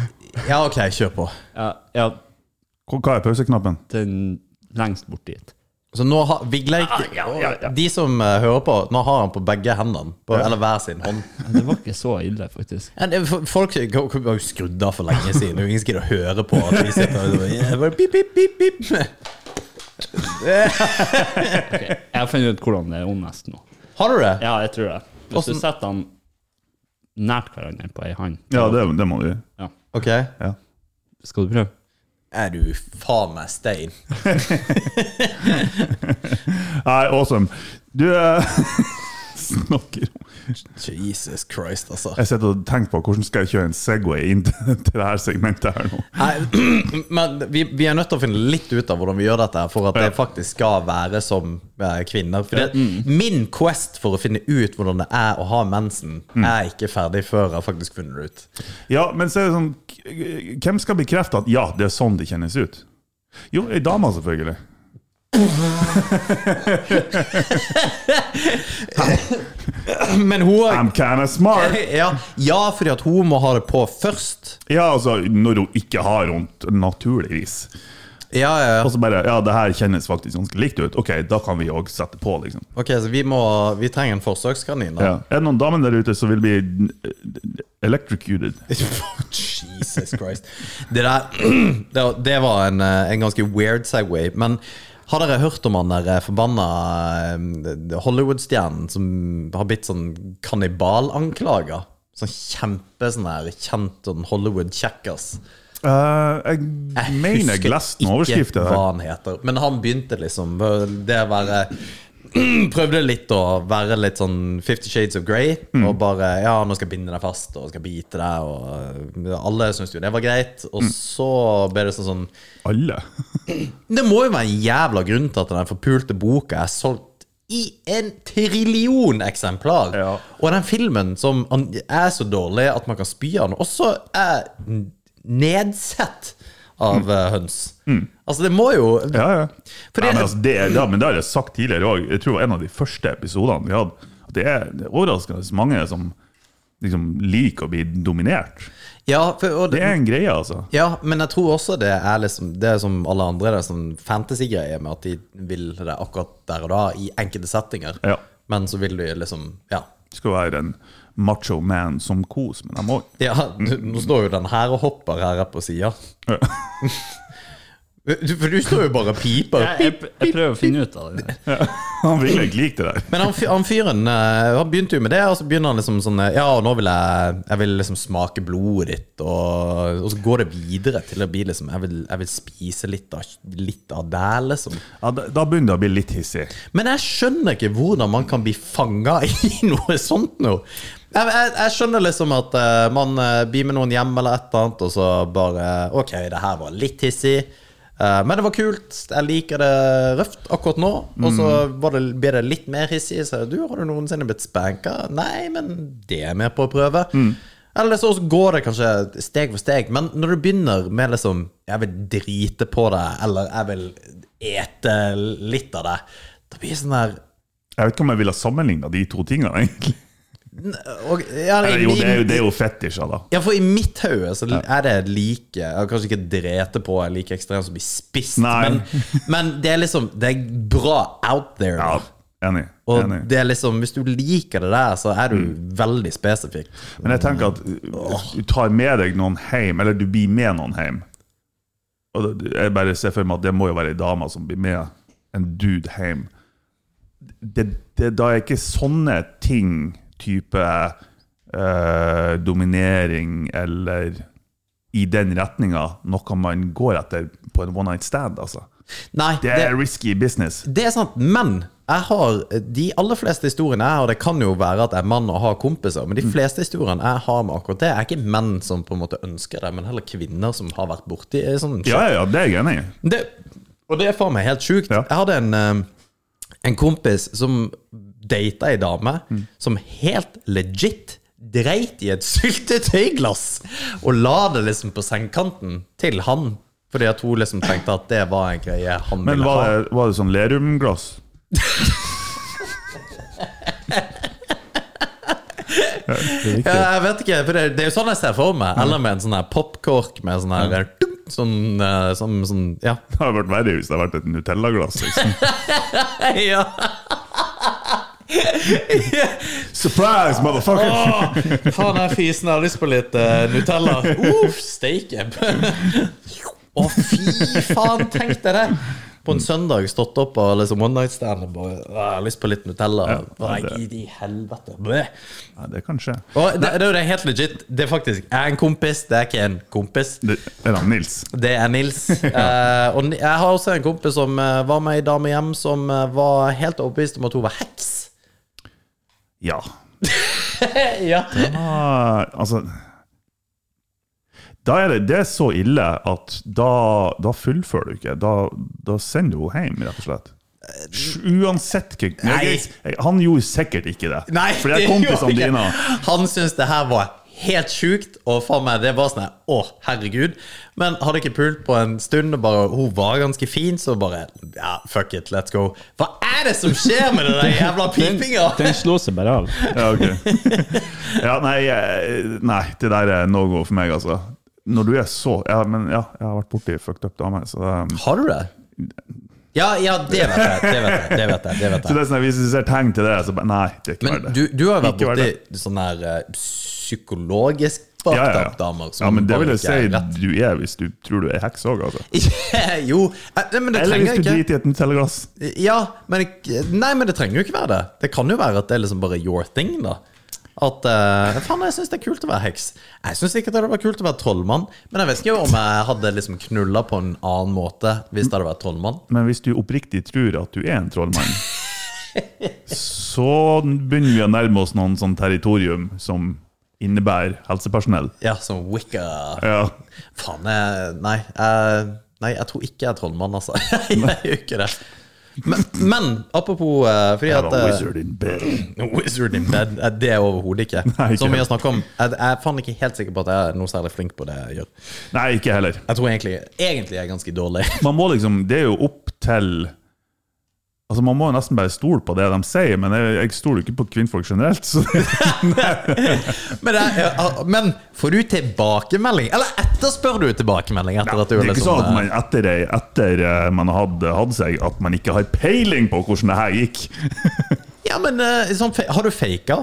[SPEAKER 2] Ja, OK, kjør på.
[SPEAKER 4] Ja, ja
[SPEAKER 3] Hva er pauseknappen?
[SPEAKER 4] den lengst bort dit.
[SPEAKER 2] Så nå har Vigleik De som eh, hører på, nå har han på begge hendene. På, Eller hver sin hånd.
[SPEAKER 4] Ja, Det var ikke så ille, faktisk.
[SPEAKER 2] Ja, det, for- folk var jo skrudd av for lenge siden. Det er jo Ingen som gidder å høre på at vi sitter og bare, pip, pip, pip, pip.
[SPEAKER 4] Jeg har funnet ut hvordan det er ondest nå.
[SPEAKER 2] Har du det?
[SPEAKER 4] Ja, jeg tror det. Hvis
[SPEAKER 2] Hvordan-
[SPEAKER 4] du setter den nært hverandre på ei hand
[SPEAKER 3] Ja, det, det må du gjøre.
[SPEAKER 4] Ja.
[SPEAKER 2] Ok.
[SPEAKER 3] Ja.
[SPEAKER 4] Skal du prøve?
[SPEAKER 2] Er du faen meg stein?
[SPEAKER 3] Nei, awesome. Du eh, *laughs* snakker om
[SPEAKER 2] Jesus Christ, altså.
[SPEAKER 3] Jeg sitter og tenker på hvordan skal jeg kjøre en Segway inn til til det her segmentet her nå.
[SPEAKER 2] Nei, *clears throat* men vi, vi er nødt til å finne litt ut av hvordan vi gjør dette her, for at det faktisk skal være som eh, kvinner. For det, min quest for å finne ut hvordan det er å ha mensen, er ikke ferdig før jeg har faktisk funnet det ut. *clears throat*
[SPEAKER 3] Ja, men så er det sånn k- Hvem skal bekrefte at ja, det er sånn det kjennes ut? Jo, ei dame, selvfølgelig.
[SPEAKER 2] Men hun
[SPEAKER 3] I'm kinda smart.
[SPEAKER 2] *laughs* ja, ja, fordi at hun må ha det på først.
[SPEAKER 3] Ja, altså, når hun ikke har vondt, naturligvis.
[SPEAKER 2] Ja, ja, ja.
[SPEAKER 3] Og så bare Ja, det her kjennes faktisk ganske likt ut. Ok, da kan vi òg sette på, liksom.
[SPEAKER 2] Ok, så vi, må, vi trenger en forsøkskanin. da.
[SPEAKER 3] Ja. Er det noen damer der ute som vil bli eh, electrocuted?
[SPEAKER 2] *laughs* Jesus Christ. Det der *clears throat* det- Det var en, eh, en ganske weird segway. Men har dere hørt om han der eh, forbanna eh, Hollywood-stjernen som har blitt sånn kannibalanklager? Sånn kjempe sånn her kjent sånn Hollywood-kjekkas.
[SPEAKER 3] Eh,
[SPEAKER 2] Jeg
[SPEAKER 3] jeg mener jeg
[SPEAKER 2] husker
[SPEAKER 3] leste noen
[SPEAKER 2] ikke
[SPEAKER 3] overskrifter
[SPEAKER 2] hva
[SPEAKER 3] her.
[SPEAKER 2] han heter. Men han begynte liksom øh, det å være *clears throat* Prøvde litt å være litt sånn Fifty Shades of Grey.
[SPEAKER 3] Mm.
[SPEAKER 2] Og bare Ja, nå skal jeg binde deg fast, og skal bite deg, og øh, Alle syntes jo det var greit. Og
[SPEAKER 3] Mm.
[SPEAKER 2] så ble det sånn sånn
[SPEAKER 3] Alle.
[SPEAKER 2] Det må jo være en jævla grunn til at den forpulte boka er solgt i en trillion eksemplar.
[SPEAKER 3] Ja.
[SPEAKER 2] Og den filmen som an- er så dårlig at man kan spy av den, også er n- nedsett av eh, høns. Altså, det må jo
[SPEAKER 3] Mm. Ja, ja.
[SPEAKER 2] For
[SPEAKER 3] Nei,
[SPEAKER 2] det-
[SPEAKER 3] men, altså, det, er- ja, men det har jeg sagt tidligere òg. Jeg tror det var en av de første episodene vi hadde. At det er, det er overraskende mange som liksom, liker å bli dominert.
[SPEAKER 2] Ja, for, og
[SPEAKER 3] Det er en greie, altså.
[SPEAKER 2] Ja, men jeg tror også det er liksom Det er som alle andre, det er sånn fantasy-greie med at de vil det akkurat der og da, i enkelte settinger.
[SPEAKER 3] Ja.
[SPEAKER 2] Men så vil de liksom Ja.
[SPEAKER 3] Det skal være en macho man som kos med dem òg.
[SPEAKER 2] ja du, nå står jo den her og hopper her på sida. For *laughs* du står jo bare og piper.
[SPEAKER 4] Jeg, jeg, jeg prøver å finne ut av det. der.
[SPEAKER 3] *laughs* Han vil ikke like det der.
[SPEAKER 2] Men han, fy- han fyren eh, han begynte jo med det, og så begynner han liksom sånn eh, Ja, og nå vil jeg Jeg vil liksom smake blodet ditt, og, og så går det videre til å bli liksom Jeg vil, jeg vil spise litt av, litt av deg, liksom.
[SPEAKER 3] Ja, da, da begynner det å bli litt hissig.
[SPEAKER 2] Men jeg skjønner ikke hvordan man kan bli fanga i *laughs* noe sånt nå. Jeg, jeg, jeg skjønner liksom at eh, man eh, blir med noen hjem eller et eller annet, og så bare eh, Ok, det her var litt hissig, eh, men det var kult. Jeg liker det røft akkurat nå. Og så var det, ble det litt mer hissig, så du, har du noensinne blitt spanka? Nei, men det er jeg med på å prøve. Eller så går det kanskje steg for steg, men når du begynner med liksom Jeg vil drite på deg, eller jeg vil ete litt av deg, da blir det sånn der
[SPEAKER 3] Jeg vet ikke om jeg ville ha sammenligna de to tingene, egentlig.
[SPEAKER 2] og, ja,
[SPEAKER 3] Eller,
[SPEAKER 2] i-
[SPEAKER 3] jo, det er jo, det er jo fetisjer, da.
[SPEAKER 2] ja, for i mitt hode så er det like jeg har Kanskje ikke drete på er like ekstremt som å bli spist,
[SPEAKER 3] Nei.
[SPEAKER 2] men, men det er liksom Det er bra out there.
[SPEAKER 3] Ja,
[SPEAKER 2] da.
[SPEAKER 3] enig.
[SPEAKER 2] Og
[SPEAKER 3] enig. Mm.
[SPEAKER 2] det er liksom, Hvis du liker det der, så er du veldig spesifikk.
[SPEAKER 3] Men jeg tenker at uh, du tar med deg noen hjem, eller du blir med noen hjem. Og det- jeg bare ser for meg at det må jo være ei dame som blir med en dude hjem. Det, det, da er ikke sånne ting type eh, dominering eller i den retninga noe man går etter på en one night stand, altså.
[SPEAKER 2] Nei,
[SPEAKER 3] Det er risky business.
[SPEAKER 2] Det er sant, men jeg har de aller fleste historiene jeg har, det kan jo være at jeg er mann og har kompiser, men de
[SPEAKER 3] Mm.
[SPEAKER 2] fleste historiene jeg har med akkurat det, er ikke menn som på en måte ønsker det, men heller kvinner som har vært borti sånn
[SPEAKER 3] Ja, ja, ja, det er jeg enig i.
[SPEAKER 2] det, og det er faen meg helt sjukt.
[SPEAKER 3] Ja.
[SPEAKER 2] Jeg hadde en, eh, en kompis som data ei dame
[SPEAKER 3] Mm.
[SPEAKER 2] som helt legit dreit i et syltetøyglass og la det liksom på sengekanten til han. Fordi at hun liksom tenkte at det var en greie han
[SPEAKER 3] Men
[SPEAKER 2] ville
[SPEAKER 3] var
[SPEAKER 2] ha.
[SPEAKER 3] det, var det sånn lerumglass? *laughs*
[SPEAKER 2] Ja, jeg vet ikke, for det, det er jo sånn jeg ser for meg. Eller med en sånn her popkork med sånn her dunk, sånn, eh, sånn, sånn Ja. *laughs*
[SPEAKER 3] Det hadde vært verre hvis det hadde vært et Nutella-glass. Liksom.
[SPEAKER 2] *laughs* ja.
[SPEAKER 3] Surprise, motherfucker!
[SPEAKER 2] Åh, faen, jeg er fisen. Jeg har lyst på litt eh, Nutella. *laughs* Uff, steike. Å, fy faen, tenk deg det! på en søndag stått opp og liksom one night stand og bare «Åh, jeg har lyst på litt Nutella. Nei,
[SPEAKER 3] det-
[SPEAKER 2] i helvete. Bleh.
[SPEAKER 3] Nei, det kan skje.
[SPEAKER 2] Og det, det er jo det helt legit. Det er faktisk jeg er en kompis, det er ikke en kompis.
[SPEAKER 3] Det, det er da Nils.
[SPEAKER 2] Det er Nils. Eh, og Ni- jeg har også en kompis som eh, var med i Damehjem, som eh, var helt overbevist om at hun var heks.
[SPEAKER 3] Ja.
[SPEAKER 2] ja.
[SPEAKER 3] Ah, altså da er det, det er så ille at da, da fullfører du ikke. Da, da sender du henne hjem, rett og slett. Uansett hva
[SPEAKER 2] Eh, Nei.
[SPEAKER 3] jeg, jeg, Han gjorde sikkert ikke det.
[SPEAKER 2] *laughs* Nei,
[SPEAKER 3] For det er kompisene
[SPEAKER 2] gjorde
[SPEAKER 3] dine.
[SPEAKER 2] ikke. Han syntes det her var helt sjukt, og for meg det var sånn her, Å, herregud. Men hadde ikke pult på en stund, og bare hun var ganske fin, så bare Ja, fuck it, let's go. Hva er det som skjer med den der jævla
[SPEAKER 4] Den,
[SPEAKER 2] pipinga?
[SPEAKER 4] den slår seg bare av.
[SPEAKER 3] Ja, ok.
[SPEAKER 2] *laughs*
[SPEAKER 3] ja, nei, jeg- nei, det der er no go for meg, altså. Når du er så Ja, men ja, jeg har vært borti fucked up dame, så um,
[SPEAKER 2] Har du det? Ja, ja, det vet jeg. Det vet jeg. det vet jeg, det vet jeg.
[SPEAKER 3] Så det er sånn, at Hvis du ser tegn til det, så bare Nei, det er ikke
[SPEAKER 2] Men
[SPEAKER 3] verdt det.
[SPEAKER 2] du, du har jo vært
[SPEAKER 3] Ikke verdt det.
[SPEAKER 2] borti sånne her eh, psykologisk
[SPEAKER 3] ja, ja,
[SPEAKER 2] baktatt
[SPEAKER 3] ja.
[SPEAKER 2] damer som
[SPEAKER 3] ja, men det
[SPEAKER 2] bare
[SPEAKER 3] vil jeg
[SPEAKER 2] ikke er
[SPEAKER 3] si du er hvis du tror du er heks òg, altså.
[SPEAKER 2] rett. *laughs* jo, eh, men det trenger
[SPEAKER 3] Eller hvis du
[SPEAKER 2] ikke
[SPEAKER 3] driter i et Nutella-glass.
[SPEAKER 2] Ja, men, jeg- nei, men det trenger jo ikke være det. Det kan jo være at det er liksom bare your thing, da. At eh, Faen, jeg syns det er kult å være heks. Jeg syns ikke det hadde vært kult å være trollmann. Men jeg vet ikke om jeg hadde liksom knulla på en annen måte hvis det hadde vært trollmann.
[SPEAKER 3] Men hvis du oppriktig tror at du er
[SPEAKER 2] *laughs*
[SPEAKER 3] en trollmann, så begynner vi å nærme oss noen sånn territorium som innebærer helsepersonell.
[SPEAKER 2] Ja, som Wicca.
[SPEAKER 3] Ja.
[SPEAKER 2] Faen, jeg Nei. Jeg, nei, jeg tror ikke jeg er trollmann, altså. *laughs* Jeg gjør jo ikke det. Men, men apropos eh, fordi at
[SPEAKER 3] Jeg var
[SPEAKER 2] eh,
[SPEAKER 3] wizard in bed.
[SPEAKER 2] Wizard in bed. eh, Det er overhodet ikke.
[SPEAKER 3] *laughs* Nei, ikke
[SPEAKER 2] Som vi har
[SPEAKER 3] helt.
[SPEAKER 2] snakket om. Jeg, jeg er faen ikke helt sikker på at jeg er noe særlig flink på det jeg gjør.
[SPEAKER 3] Nei, ikke heller.
[SPEAKER 2] Jeg tror egentlig, egentlig jeg er ganske dårlig. *laughs*
[SPEAKER 3] man må liksom Det er jo opp til Altså Man må jo nesten bare stole på det de sier, men jeg, jeg stoler jo ikke på kvinnfolk generelt. Så
[SPEAKER 2] Men, det er, ah, men får du tilbakemelding? Eller etterspør du tilbakemelding? etter at du
[SPEAKER 3] det er ikke
[SPEAKER 2] liksom,
[SPEAKER 3] sånn at
[SPEAKER 2] eh,
[SPEAKER 3] man etter, ei- etter eh, man har hatt- hatt seg, at man ikke har peiling på hvordan det her gikk.
[SPEAKER 2] Ja, men eh, sånn, fe- Har du faka?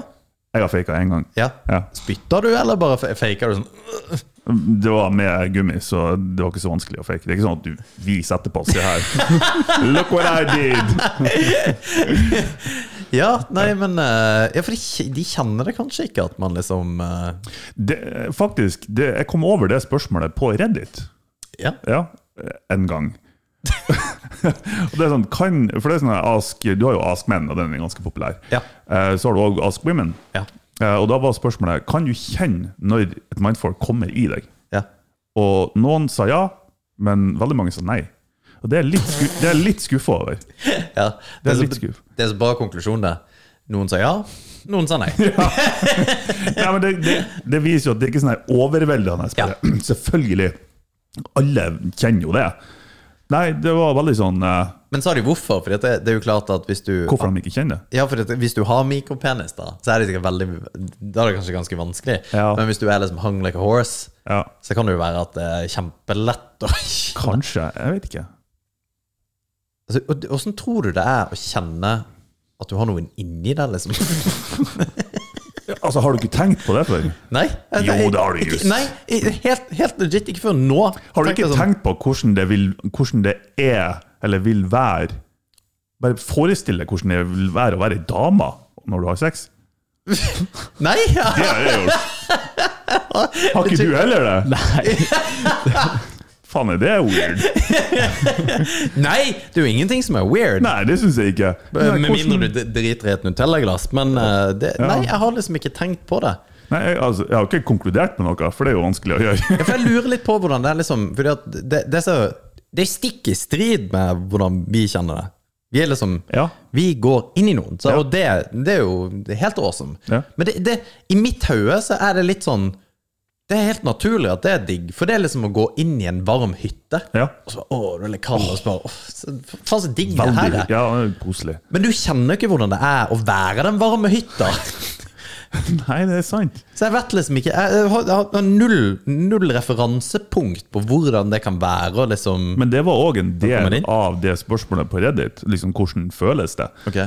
[SPEAKER 3] Jeg har faka én gang.
[SPEAKER 2] Ja.
[SPEAKER 3] Ja.
[SPEAKER 2] Spytter du, eller bare fe- faker du sånn?
[SPEAKER 3] Det var med gummi, så det var ikke så vanskelig å fake. Det er ikke sånn at du viser etterpå. Se her.
[SPEAKER 2] *laughs*
[SPEAKER 3] Look what I did!
[SPEAKER 2] Ja, nei, men eh, Ja, for de, kj- de kjenner det kanskje ikke, at man liksom eh,
[SPEAKER 3] Det, faktisk, det, jeg kom over det spørsmålet på Reddit.
[SPEAKER 2] Ja.
[SPEAKER 3] Ja, eh, en
[SPEAKER 2] *laughs*
[SPEAKER 3] gang. og det er sånn, kan, for det er sånn her ask, Du har jo Ask Men, og den er ganske populær.
[SPEAKER 2] Ja.
[SPEAKER 3] Eh, Så har du òg Ask Women.
[SPEAKER 2] Ja.
[SPEAKER 3] Eh, Og da var spørsmålet kan du kjenne når et mindfolk kommer i deg.
[SPEAKER 2] ja.
[SPEAKER 3] Og noen sa ja, men veldig mange sa nei. Og det er jeg litt, sku, det er jeg litt skuffa over.
[SPEAKER 2] ja.
[SPEAKER 3] Det er
[SPEAKER 2] så-
[SPEAKER 3] litt skuff.
[SPEAKER 2] det er så bra konklusjon, det. Noen sa ja, noen
[SPEAKER 3] *laughs*
[SPEAKER 2] sa nei.
[SPEAKER 3] Nei, men det, det, det viser jo at det er ikke sånn her overveldende.
[SPEAKER 2] Ja.
[SPEAKER 3] bare, Selvfølgelig. Alle kjenner jo det. Nei, det var veldig sånn eh,
[SPEAKER 2] Men sa de hvorfor? For det, det er jo klart at hvis du
[SPEAKER 3] Hvorfor de ikke kjenner det?
[SPEAKER 2] Ja, for det, hvis du har mikropenis, da, så er det sikkert veldig Da er det kanskje ganske vanskelig.
[SPEAKER 3] Ja.
[SPEAKER 2] Men hvis du er liksom hung like a horse,
[SPEAKER 3] Ja,
[SPEAKER 2] så kan det jo være at det er kjempelett å *laughs* kjenne
[SPEAKER 3] kanskje. Jeg vet ikke.
[SPEAKER 2] altså, og det- Hvordan tror du det er å kjenne at du har noen inni deg, liksom?
[SPEAKER 3] Altså, Har du ikke tenkt på det før?
[SPEAKER 2] Nei? Altså,
[SPEAKER 3] Jo, det har du
[SPEAKER 2] ikke-
[SPEAKER 3] just.
[SPEAKER 2] Nei, i- helt, helt legit ikke før nå.
[SPEAKER 3] Har
[SPEAKER 2] Tenkte
[SPEAKER 3] du ikke
[SPEAKER 2] jeg sånn,
[SPEAKER 3] tenkt på hvordan det, vil, hvordan det er, eller vil være Bare forestill deg hvordan det vil være å være ei dame når du har sex.
[SPEAKER 2] Nei!
[SPEAKER 3] Det har jeg gjort. Har ikke du heller det? Nei. Faen, er det weird?
[SPEAKER 2] Nei! Det er jo ingenting som er weird. Eh,
[SPEAKER 3] Nei, det syns jeg ikke. Nei,
[SPEAKER 2] Med
[SPEAKER 3] hvordan-
[SPEAKER 2] mindre du d- driter i et Nutella-glass. Men eh, det, nei, jeg har liksom ikke tenkt på det.
[SPEAKER 3] Nei, jeg, altså, jeg har ikke konkludert med noe, for det er jo vanskelig å gjøre. *laughs*
[SPEAKER 2] Ja, for jeg lurer litt på hvordan det er liksom Fordi at det, det, er så- det er stikk i strid med hvordan vi kjenner det. Vi er liksom
[SPEAKER 3] Ja.
[SPEAKER 2] Vi går inn i noen, så,
[SPEAKER 3] Ja.
[SPEAKER 2] og det, det er jo det er helt awesome.
[SPEAKER 3] Ja.
[SPEAKER 2] Men det, det, i mitt hode så er det litt sånn Det er helt naturlig at det er digg, for det er liksom å gå inn i en varm hytte.
[SPEAKER 3] Ja.
[SPEAKER 2] Og så, å, du er litt kald, og så bare åh, så- Faen, så digg det her
[SPEAKER 3] Veldig
[SPEAKER 2] er.
[SPEAKER 3] ja, koselig.
[SPEAKER 2] Men du kjenner jo ikke hvordan det er å være den varme hytta.
[SPEAKER 3] Nei, det er sant.
[SPEAKER 2] Så jeg vet liksom ikke Jeg, jeg, har, jeg har null, null referansepunkt på hvordan det kan være å liksom
[SPEAKER 3] Men det var òg en
[SPEAKER 2] kommer
[SPEAKER 3] del
[SPEAKER 2] inn.
[SPEAKER 3] av det spørsmålet på Reddit. Liksom, hvordan føles det?
[SPEAKER 2] Ok.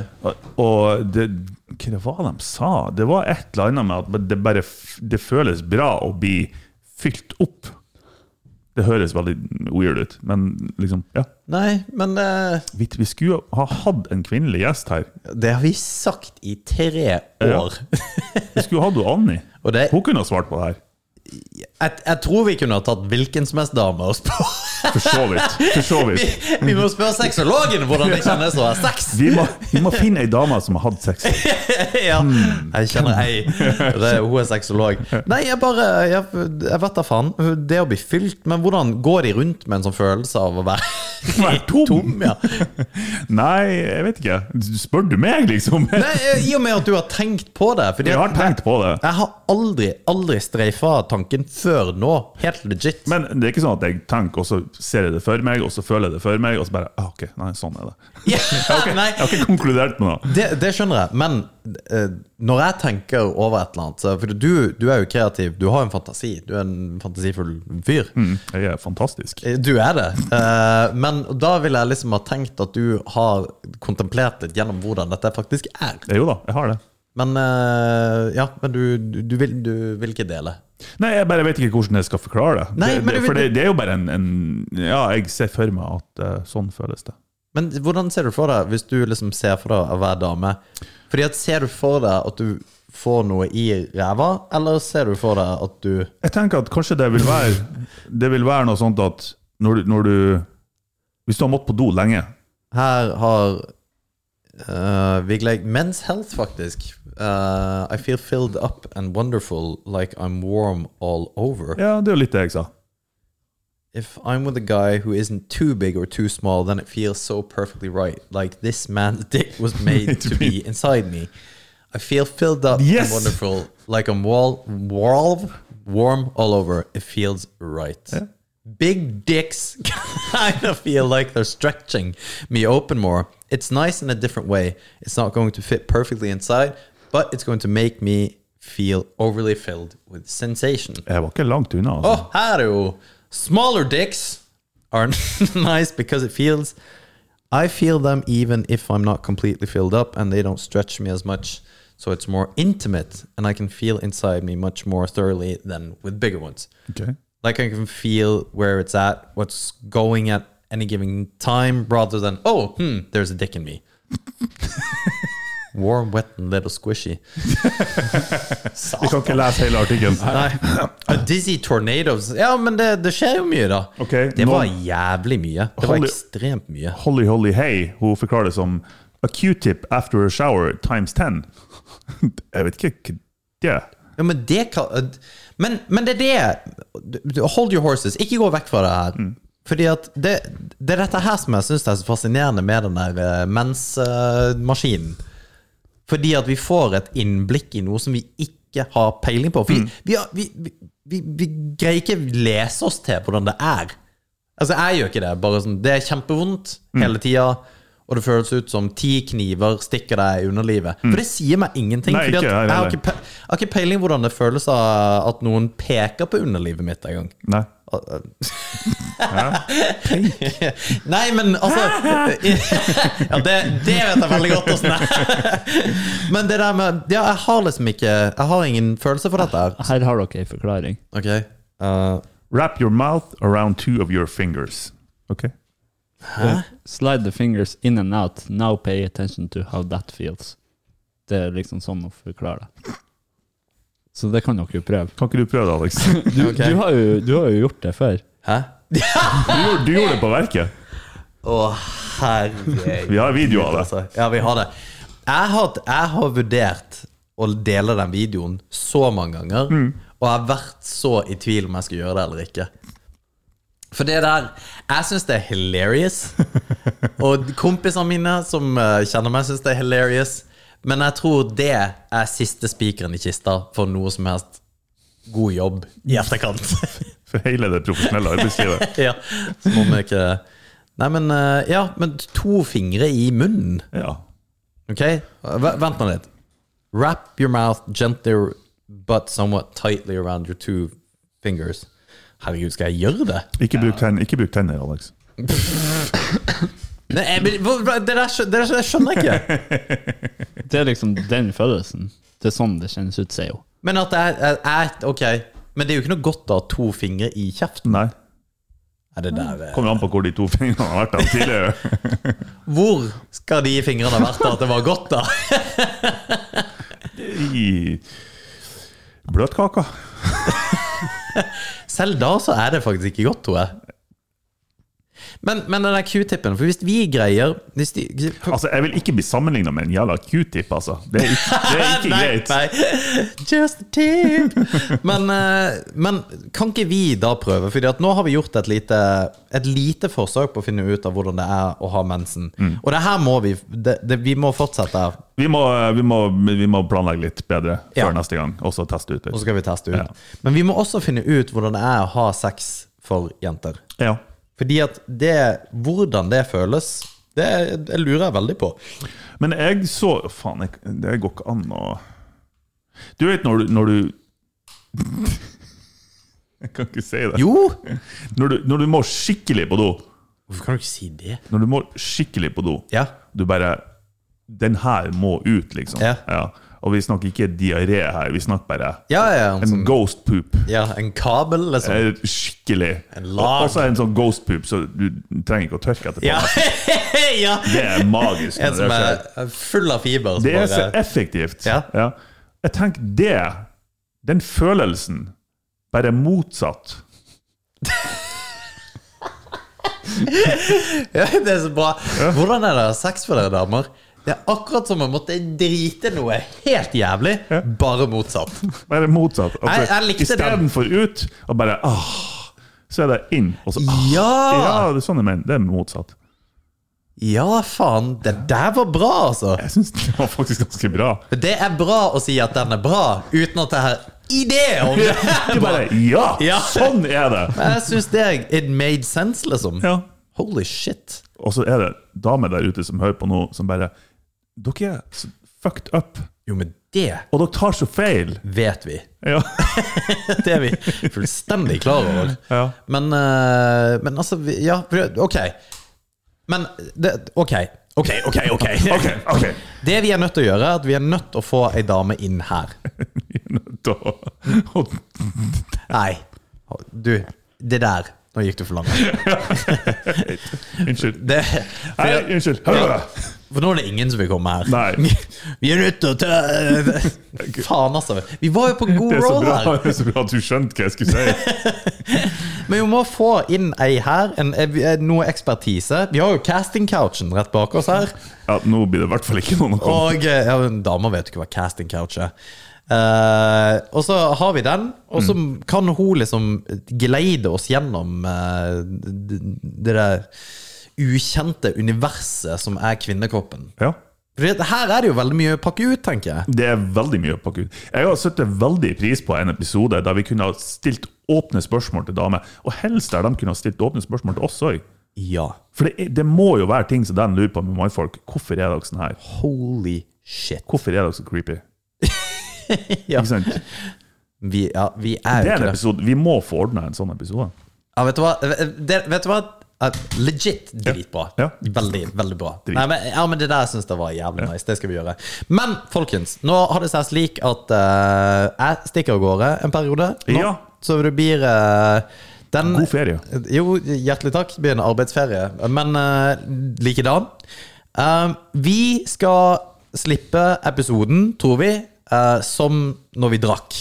[SPEAKER 3] Og det, hva det var de sa? Det var et eller annet med at det bare f- det føles bra å bli fylt opp. Det høres veldig weird ut, men liksom Ja.
[SPEAKER 2] Nei, men eh,
[SPEAKER 3] Vi, vi skulle ha hatt en kvinnelig gjest her.
[SPEAKER 2] det har vi sagt i tre år.
[SPEAKER 3] Vi skulle hatt hun Anni.
[SPEAKER 2] Og det,
[SPEAKER 3] Hun kunne ha svart på det her.
[SPEAKER 2] jeg, jeg tror vi kunne ha tatt hvilken som helst dame og spurt.
[SPEAKER 3] For så vidt. For så
[SPEAKER 2] Vi,
[SPEAKER 3] vidt.
[SPEAKER 2] *laughs* vi må spørre sexologen hvordan det kjennes å ha sex!
[SPEAKER 3] Vi må, vi må finne ei dame som har
[SPEAKER 2] *laughs*
[SPEAKER 3] hatt sex.
[SPEAKER 2] ja, jeg kjenner ei. Det, hun er sexolog. Nei, jeg bare Jeg, jeg vet da faen. Det å bli fylt Men hvordan går de rundt med en sånn følelse av å være *laughs*
[SPEAKER 3] Være tom.
[SPEAKER 2] tom ja.
[SPEAKER 3] Nei, jeg vet ikke. Spør du meg, liksom?
[SPEAKER 2] Nei, I og med at du har tenkt på det. Fordi
[SPEAKER 3] *laughs* Jeg har
[SPEAKER 2] at-
[SPEAKER 3] tenkt på det.
[SPEAKER 2] jeg har aldri, aldri streifa tanken før nå. Helt legit.
[SPEAKER 3] Men det er ikke sånn at jeg tenker, og så ser jeg det for meg, og så føler jeg det for meg, og så bare ah, OK, nei, sånn er det.
[SPEAKER 2] *laughs* *laughs* Ja, nei,
[SPEAKER 3] Jeg har ikke konkludert med noe.
[SPEAKER 2] det, det skjønner jeg, men eh, når jeg tenker over et eller annet så- For du, du er jo kreativ, du har en fantasi. Du er en fantasifull fyr.
[SPEAKER 3] Mm, Jeg er fantastisk.
[SPEAKER 2] Du er det. Eh, men da vil jeg liksom ha tenkt at du har kontemplert litt gjennom hvordan dette faktisk er.
[SPEAKER 3] Eh, Jo da, jeg har det.
[SPEAKER 2] Men eh, ja, men du, du, du, vil, du vil ikke dele.
[SPEAKER 3] Nei, jeg bare vet ikke hvordan jeg skal forklare det.
[SPEAKER 2] Nei,
[SPEAKER 3] det,
[SPEAKER 2] men
[SPEAKER 3] det
[SPEAKER 2] du-
[SPEAKER 3] for det, det er jo bare en, en Ja, jeg ser for meg at eh, sånn føles det.
[SPEAKER 2] Men hvordan ser du for deg, hvis du liksom ser for deg å være dame Fordi at Ser du for deg at du får noe i ræva, eller ser du for deg at du
[SPEAKER 3] Jeg tenker at kanskje det vil være Det vil være noe sånt at når du, når du Hvis du har måttet på do lenge
[SPEAKER 2] Her har eh, Vigleik Men's Health, faktisk. Eh, I feel filled up and wonderful like I'm warm all over.
[SPEAKER 3] Ja, det er jo litt det jeg sa.
[SPEAKER 2] If I'm with a guy who isn't too big or too small, then it feels so perfectly right. Like this man's dick was *laughs* made to be inside me. I feel filled up
[SPEAKER 3] Yes!
[SPEAKER 2] and wonderful. Like I'm wall, wall, warm all over. It feels right. Big dicks *laughs* kind of feel like they're stretching me open more. It's nice in a different way. It's not going to fit perfectly inside, but it's going to make me feel overly filled with sensation.
[SPEAKER 3] Jeg var ikke langt unna.
[SPEAKER 2] Å,
[SPEAKER 3] Altså.
[SPEAKER 2] her er det jo Smaller dicks are *laughs* nice because it feels I feel them even if I'm not completely filled up and they don't stretch me as much. So it's more intimate and I can feel inside me much more thoroughly than with bigger ones.
[SPEAKER 3] Ok.
[SPEAKER 2] Like I can feel where it's at, what's going at any given time rather than, oh, hmm, there's a dick in me. *laughs* Warm, wet, and little squishy.
[SPEAKER 3] Vi kan ikke lese hele artikkelen. *laughs*
[SPEAKER 2] Nei. A dizzy tornadoes Ja, men det, det skjer jo mye, da.
[SPEAKER 3] Ok,
[SPEAKER 2] det
[SPEAKER 3] nå-
[SPEAKER 2] var jævlig mye. Det var
[SPEAKER 3] Holly-
[SPEAKER 2] ekstremt mye.
[SPEAKER 3] Holly Holly Hey, hun forklarer det som A Q-tip after a shower times 10. *laughs* Jeg vet ikke hva det er.
[SPEAKER 2] Ja, men det kan Men, men det er det du- Hold your horses. Ikke gå vekk fra det her.
[SPEAKER 3] Mm.
[SPEAKER 2] Fordi at det, det er dette her som jeg syns er så fascinerende med den der eh, mensmaskinen. Fordi at vi får et innblikk i noe som vi ikke har peiling på. For
[SPEAKER 3] Mm.
[SPEAKER 2] vi, vi, har- vi, vi, vi, vi greier ikke lese oss til hvordan det er. Altså, jeg gjør ikke det. Bare sånn, det er kjempevondt
[SPEAKER 3] Mm.
[SPEAKER 2] hele tida. Og det føles ut som ti kniver stikker deg i underlivet. For det sier meg ingenting.
[SPEAKER 3] Mm. Nei,
[SPEAKER 2] fordi at
[SPEAKER 3] ikke jeg
[SPEAKER 2] jeg, har
[SPEAKER 3] heller.
[SPEAKER 2] ikke pe jeg har ikke peiling hvordan det føles av at noen peker på underlivet mitt en gang.
[SPEAKER 3] Nei.
[SPEAKER 2] Nei, men altså Ja, det, det vet jeg veldig godt åssen det er. Men det der med Ja, jeg har liksom ikke Jeg har ingen følelse for dette her.
[SPEAKER 4] Her har dere ei forklaring.
[SPEAKER 2] Ok. eh,
[SPEAKER 3] Wrap your mouth around two of your fingers. Ok.
[SPEAKER 4] Slide the fingers in and out. Now pay attention to how that feels. Det er liksom sånn å forklare det. Så det kan dere jo prøve.
[SPEAKER 3] Kan ikke du prøve det, Alex?
[SPEAKER 2] *laughs*
[SPEAKER 4] Du,
[SPEAKER 2] Ok.
[SPEAKER 4] du, har, jo, du har jo gjort det før.
[SPEAKER 2] hæ?
[SPEAKER 3] Du gjorde, du gjorde det på verket.
[SPEAKER 2] Å, herregud.
[SPEAKER 3] Vi har video av det.
[SPEAKER 2] Altså, ja, vi har det. Jeg har, jeg har vurdert å dele den videoen så mange ganger, og jeg har vært så i tvil om jeg skal gjøre det eller ikke. For det der Jeg syns det er hilarious. Og kompisene mine som eh, kjenner meg, syns det er hilarious. Men jeg tror det er siste spikeren i kista for noe som helst god jobb i etterkant.
[SPEAKER 3] For hele det profesjonelle arbeidslivet.
[SPEAKER 2] ja, som om jeg ikke Nei, men eh, Ja, men to fingre i munnen.
[SPEAKER 3] Ja.
[SPEAKER 2] Ok, v- vent nå litt. Wrap your mouth gently but somewhat tightly around your two fingers. Herregud, skal jeg gjøre det?
[SPEAKER 3] Ikke bruk, tenn, ikke bruk tenner, Alex.
[SPEAKER 2] Nei, jeg, men hvor- det, der, skjø- det der skjønner jeg *laughs* ikke.
[SPEAKER 4] Det er liksom den følelsen. Det er sånn det kjennes ut, sier hun.
[SPEAKER 2] Men at jeg, jeg, jeg Ok, men det er jo ikke noe godt å ha to fingre i kjeften.
[SPEAKER 3] Nei.
[SPEAKER 2] Er det der eh,
[SPEAKER 3] Kommer an på hvor de to fingrene har vært av tidligere.
[SPEAKER 2] Hvor skal de fingrene ha vært av at det var godt, da?
[SPEAKER 3] I bløtkaka.
[SPEAKER 2] *laughs* Selv da så er det faktisk ikke godt, tror jeg. Men, men den der q-tippen For hvis vi greier hvis de,
[SPEAKER 3] Altså, jeg vil ikke bli sammenligna med en jævla q-tip, altså. Det er ikke, det er ikke
[SPEAKER 2] *laughs* Nei,
[SPEAKER 3] greit.
[SPEAKER 2] nei. Just a tip! Men, eh, men kan ikke vi da prøve? Fordi at nå har vi gjort et lite, et lite forsøk på å finne ut av hvordan det er å ha mensen.
[SPEAKER 3] Mm.
[SPEAKER 2] Og det her må vi det, det, Vi må fortsette,
[SPEAKER 3] Vi må, vi, må, vi må planlegge litt bedre
[SPEAKER 2] Ja.
[SPEAKER 3] før neste gang, og så teste ut
[SPEAKER 2] og så
[SPEAKER 3] litt.
[SPEAKER 2] skal vi teste ut.
[SPEAKER 3] Ja.
[SPEAKER 2] Men vi må også finne ut hvordan det er å ha sex for jenter.
[SPEAKER 3] Ja.
[SPEAKER 2] Fordi at det, hvordan det føles, det, det lurer jeg veldig på.
[SPEAKER 3] Men jeg så Faen, jeg, det går ikke an å Du vet når du, når du *laughs* Jeg kan ikke si det.
[SPEAKER 2] Jo!
[SPEAKER 3] Når du, når du må skikkelig på do,
[SPEAKER 2] Hvorfor kan du ikke si det?
[SPEAKER 3] når du må skikkelig på do
[SPEAKER 2] Ja.
[SPEAKER 3] Du bare Den her må ut, liksom.
[SPEAKER 2] Ja.
[SPEAKER 3] Og vi snakker ikke diaré her, vi snakker bare
[SPEAKER 2] Ja, ja, en,
[SPEAKER 3] en
[SPEAKER 2] sånn,
[SPEAKER 3] ghost poop.
[SPEAKER 2] ja, en kabel, liksom.
[SPEAKER 3] er skikkelig.
[SPEAKER 2] En
[SPEAKER 3] Og
[SPEAKER 2] lag.
[SPEAKER 3] Også en sånn ghost poop, så du trenger ikke å tørke etterpå.
[SPEAKER 2] Ja. *laughs* ja.
[SPEAKER 3] Det er magisk.
[SPEAKER 2] *laughs*
[SPEAKER 3] når
[SPEAKER 2] En som
[SPEAKER 3] Eh, det
[SPEAKER 2] er
[SPEAKER 3] skjer.
[SPEAKER 2] full av fiber. som
[SPEAKER 3] det er så
[SPEAKER 2] bare-
[SPEAKER 3] effektivt.
[SPEAKER 2] Ja.
[SPEAKER 3] Jeg tenker det Den følelsen, bare motsatt.
[SPEAKER 2] Ja, det er så bra. Hvordan er det å ha sex for dere damer? Det er akkurat som å måtte drite noe helt jævlig, bare motsatt.
[SPEAKER 3] Bare motsatt.
[SPEAKER 2] Jeg- jeg likte den.
[SPEAKER 3] Istedenfor ut og bare ah, så er det inn. Og så, ah.
[SPEAKER 2] Ja!
[SPEAKER 3] ja, det er sånn jeg mener. Det er motsatt.
[SPEAKER 2] Ja, faen. Det der var bra, altså.
[SPEAKER 3] Jeg syns det var faktisk ganske bra.
[SPEAKER 2] *laughs* Det er bra å si at den er bra, uten at jeg har idé om det.
[SPEAKER 3] Du bare ja,
[SPEAKER 2] Ja.
[SPEAKER 3] sånn er det!
[SPEAKER 2] Men jeg syns det er- It made sense, liksom.
[SPEAKER 3] Ja.
[SPEAKER 2] Holy shit.
[SPEAKER 3] Og så er det damer der ute som hører på nå, som bare Dere er så fucked up.
[SPEAKER 2] Jo, men det
[SPEAKER 3] Og dere tar så feil!
[SPEAKER 2] vet vi.
[SPEAKER 3] Ja.
[SPEAKER 2] Det er vi fullstendig klar over.
[SPEAKER 3] Ja.
[SPEAKER 2] Men, eh, men altså vi- Ja, for- OK. Men det, OK. OK, OK, OK.
[SPEAKER 3] *laughs* Ok, ok.
[SPEAKER 2] Det vi er nødt til å gjøre, er at vi er nødt til å få ei dame inn her.
[SPEAKER 3] Vi er nødt til å å-
[SPEAKER 2] Nei, du. Det der. Nå gikk du for langt.
[SPEAKER 3] Unnskyld.
[SPEAKER 2] Det, for,
[SPEAKER 3] Nei, unnskyld. Hør.
[SPEAKER 2] for nå er det ingen som vil komme her.
[SPEAKER 3] Nei.
[SPEAKER 2] Vi er nødt til å ta Faen, altså. Vi var jo på god
[SPEAKER 3] *laughs* Det er, så
[SPEAKER 2] roll her.
[SPEAKER 3] bra, det er så bra at du skjønte hva jeg skulle si.
[SPEAKER 2] Men vi må få inn ei her, en, en, noe ekspertise. Vi har jo casting-couchen rett bak oss her.
[SPEAKER 3] Ja, Nå blir det i hvert fall ikke noen å komme.
[SPEAKER 2] Og eh, ja, men damer vet jo ikke hva casting-couch er. Eh, og så har vi den, og så kan hun liksom geleide oss gjennom eh, d- d- det der ukjente universet som er kvinnekroppen.
[SPEAKER 3] Ja,
[SPEAKER 2] For det, her er det jo veldig mye å pakke ut, tenker jeg.
[SPEAKER 3] det er veldig mye å pakke ut. Jeg har satt veldig pris på en episode der vi kunne ha stilt åpne spørsmål til damer, og helst der de kunne ha stilt åpne spørsmål til oss òg.
[SPEAKER 2] Ja.
[SPEAKER 3] For det, er- det må jo være ting som de lurer på med mannfolk. Hvorfor er dere sånn her?
[SPEAKER 2] Holy shit.
[SPEAKER 3] Hvorfor er dere så creepy?
[SPEAKER 2] *laughs* Ja.
[SPEAKER 3] Ikke sant?
[SPEAKER 2] Vi, ja, vi er
[SPEAKER 3] Det
[SPEAKER 2] jo
[SPEAKER 3] er en
[SPEAKER 2] ikke det.
[SPEAKER 3] episode, Vi må få ordna en sånn episode.
[SPEAKER 2] Ja, vet du hva? Eh, Det, vet du hva? At Legit dritbra.
[SPEAKER 3] Ja.
[SPEAKER 2] Veldig, veldig bra.
[SPEAKER 3] Drit.
[SPEAKER 2] Nei, men, ja, men Det der syns jeg var jævlig nice. Det skal vi gjøre. Men folkens, nå har det seg slik at eh, jeg stikker av gårde en periode. Nå,
[SPEAKER 3] Ja.
[SPEAKER 2] Så det blir eh, den
[SPEAKER 3] God ferie.
[SPEAKER 2] Jo, hjertelig takk. Det blir en arbeidsferie. Men eh, likedan. Eh, vi skal slippe episoden, tror vi, eh, som når vi drakk.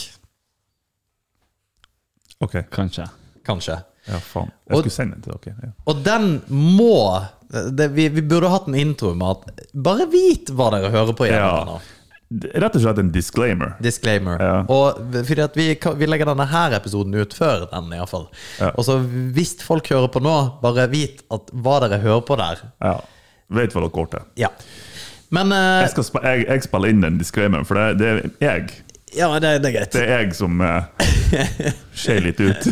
[SPEAKER 3] Ok.
[SPEAKER 4] Kanskje.
[SPEAKER 2] Kanskje.
[SPEAKER 3] Ja, faen.
[SPEAKER 2] Og-
[SPEAKER 3] Jeg skulle sende den til dere. Ja.
[SPEAKER 2] Og den må det, vi, vi burde hatt en intro med at Bare vit hva dere hører på
[SPEAKER 3] Ja.
[SPEAKER 2] igjen.
[SPEAKER 3] D- Rett og slett en disclaimer.
[SPEAKER 2] Disclaimer.
[SPEAKER 3] Ja.
[SPEAKER 2] Og fordi at vi, kan- vi legger denne her episoden ut før den, iallfall.
[SPEAKER 3] Ja.
[SPEAKER 2] fall Og så hvis folk hører på nå, bare vit at hva dere hører på der.
[SPEAKER 3] Ja. Vet hva dere går til.
[SPEAKER 2] Ja. Men eh,
[SPEAKER 3] Jeg, skal spa- jeg, jeg spiller inn den disclaimeren, for det, det er jeg
[SPEAKER 2] Ja, det, det er greit.
[SPEAKER 3] Det er jeg som eh, skeier litt ut.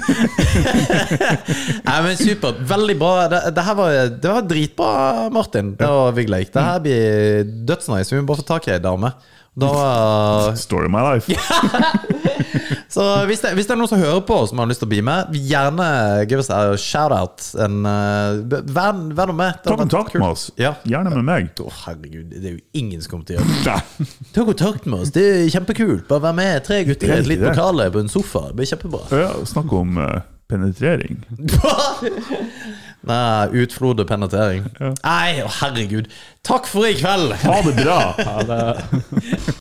[SPEAKER 2] Nei, men Supert. Veldig bra. Det, det her var, det var dritbra, Martin det og Vigleik. Det her blir dødsnice. Vi må bare få tak i ei dame. Da
[SPEAKER 3] *laughs*
[SPEAKER 2] eh,
[SPEAKER 3] Story of my life.
[SPEAKER 2] Så hvis det, hvis det er noen som hører på som har lyst til å bli med, gjerne give us a shout-out. En, eh, b- Vær vær nå med. Det
[SPEAKER 3] Ta
[SPEAKER 2] hadde vært
[SPEAKER 3] kontakt
[SPEAKER 2] kult.
[SPEAKER 3] med oss.
[SPEAKER 2] Ja.
[SPEAKER 3] Gjerne med meg.
[SPEAKER 2] Å, herregud, det er jo ingen som kommer til å gjøre det.
[SPEAKER 3] Nei.
[SPEAKER 2] Ta kontakt med oss, det er kjempekult. Bare vær med tre gutter i et
[SPEAKER 3] Tenk
[SPEAKER 2] lite
[SPEAKER 3] det. *laughs*
[SPEAKER 2] lokale på en sofa. Det blir kjempebra.
[SPEAKER 3] Ja, snakk om eh, Penetrering.
[SPEAKER 2] Nei, utflod og penetrering. Nei, å, herregud. Takk for i kveld!
[SPEAKER 3] Ha det bra!
[SPEAKER 4] Ja, det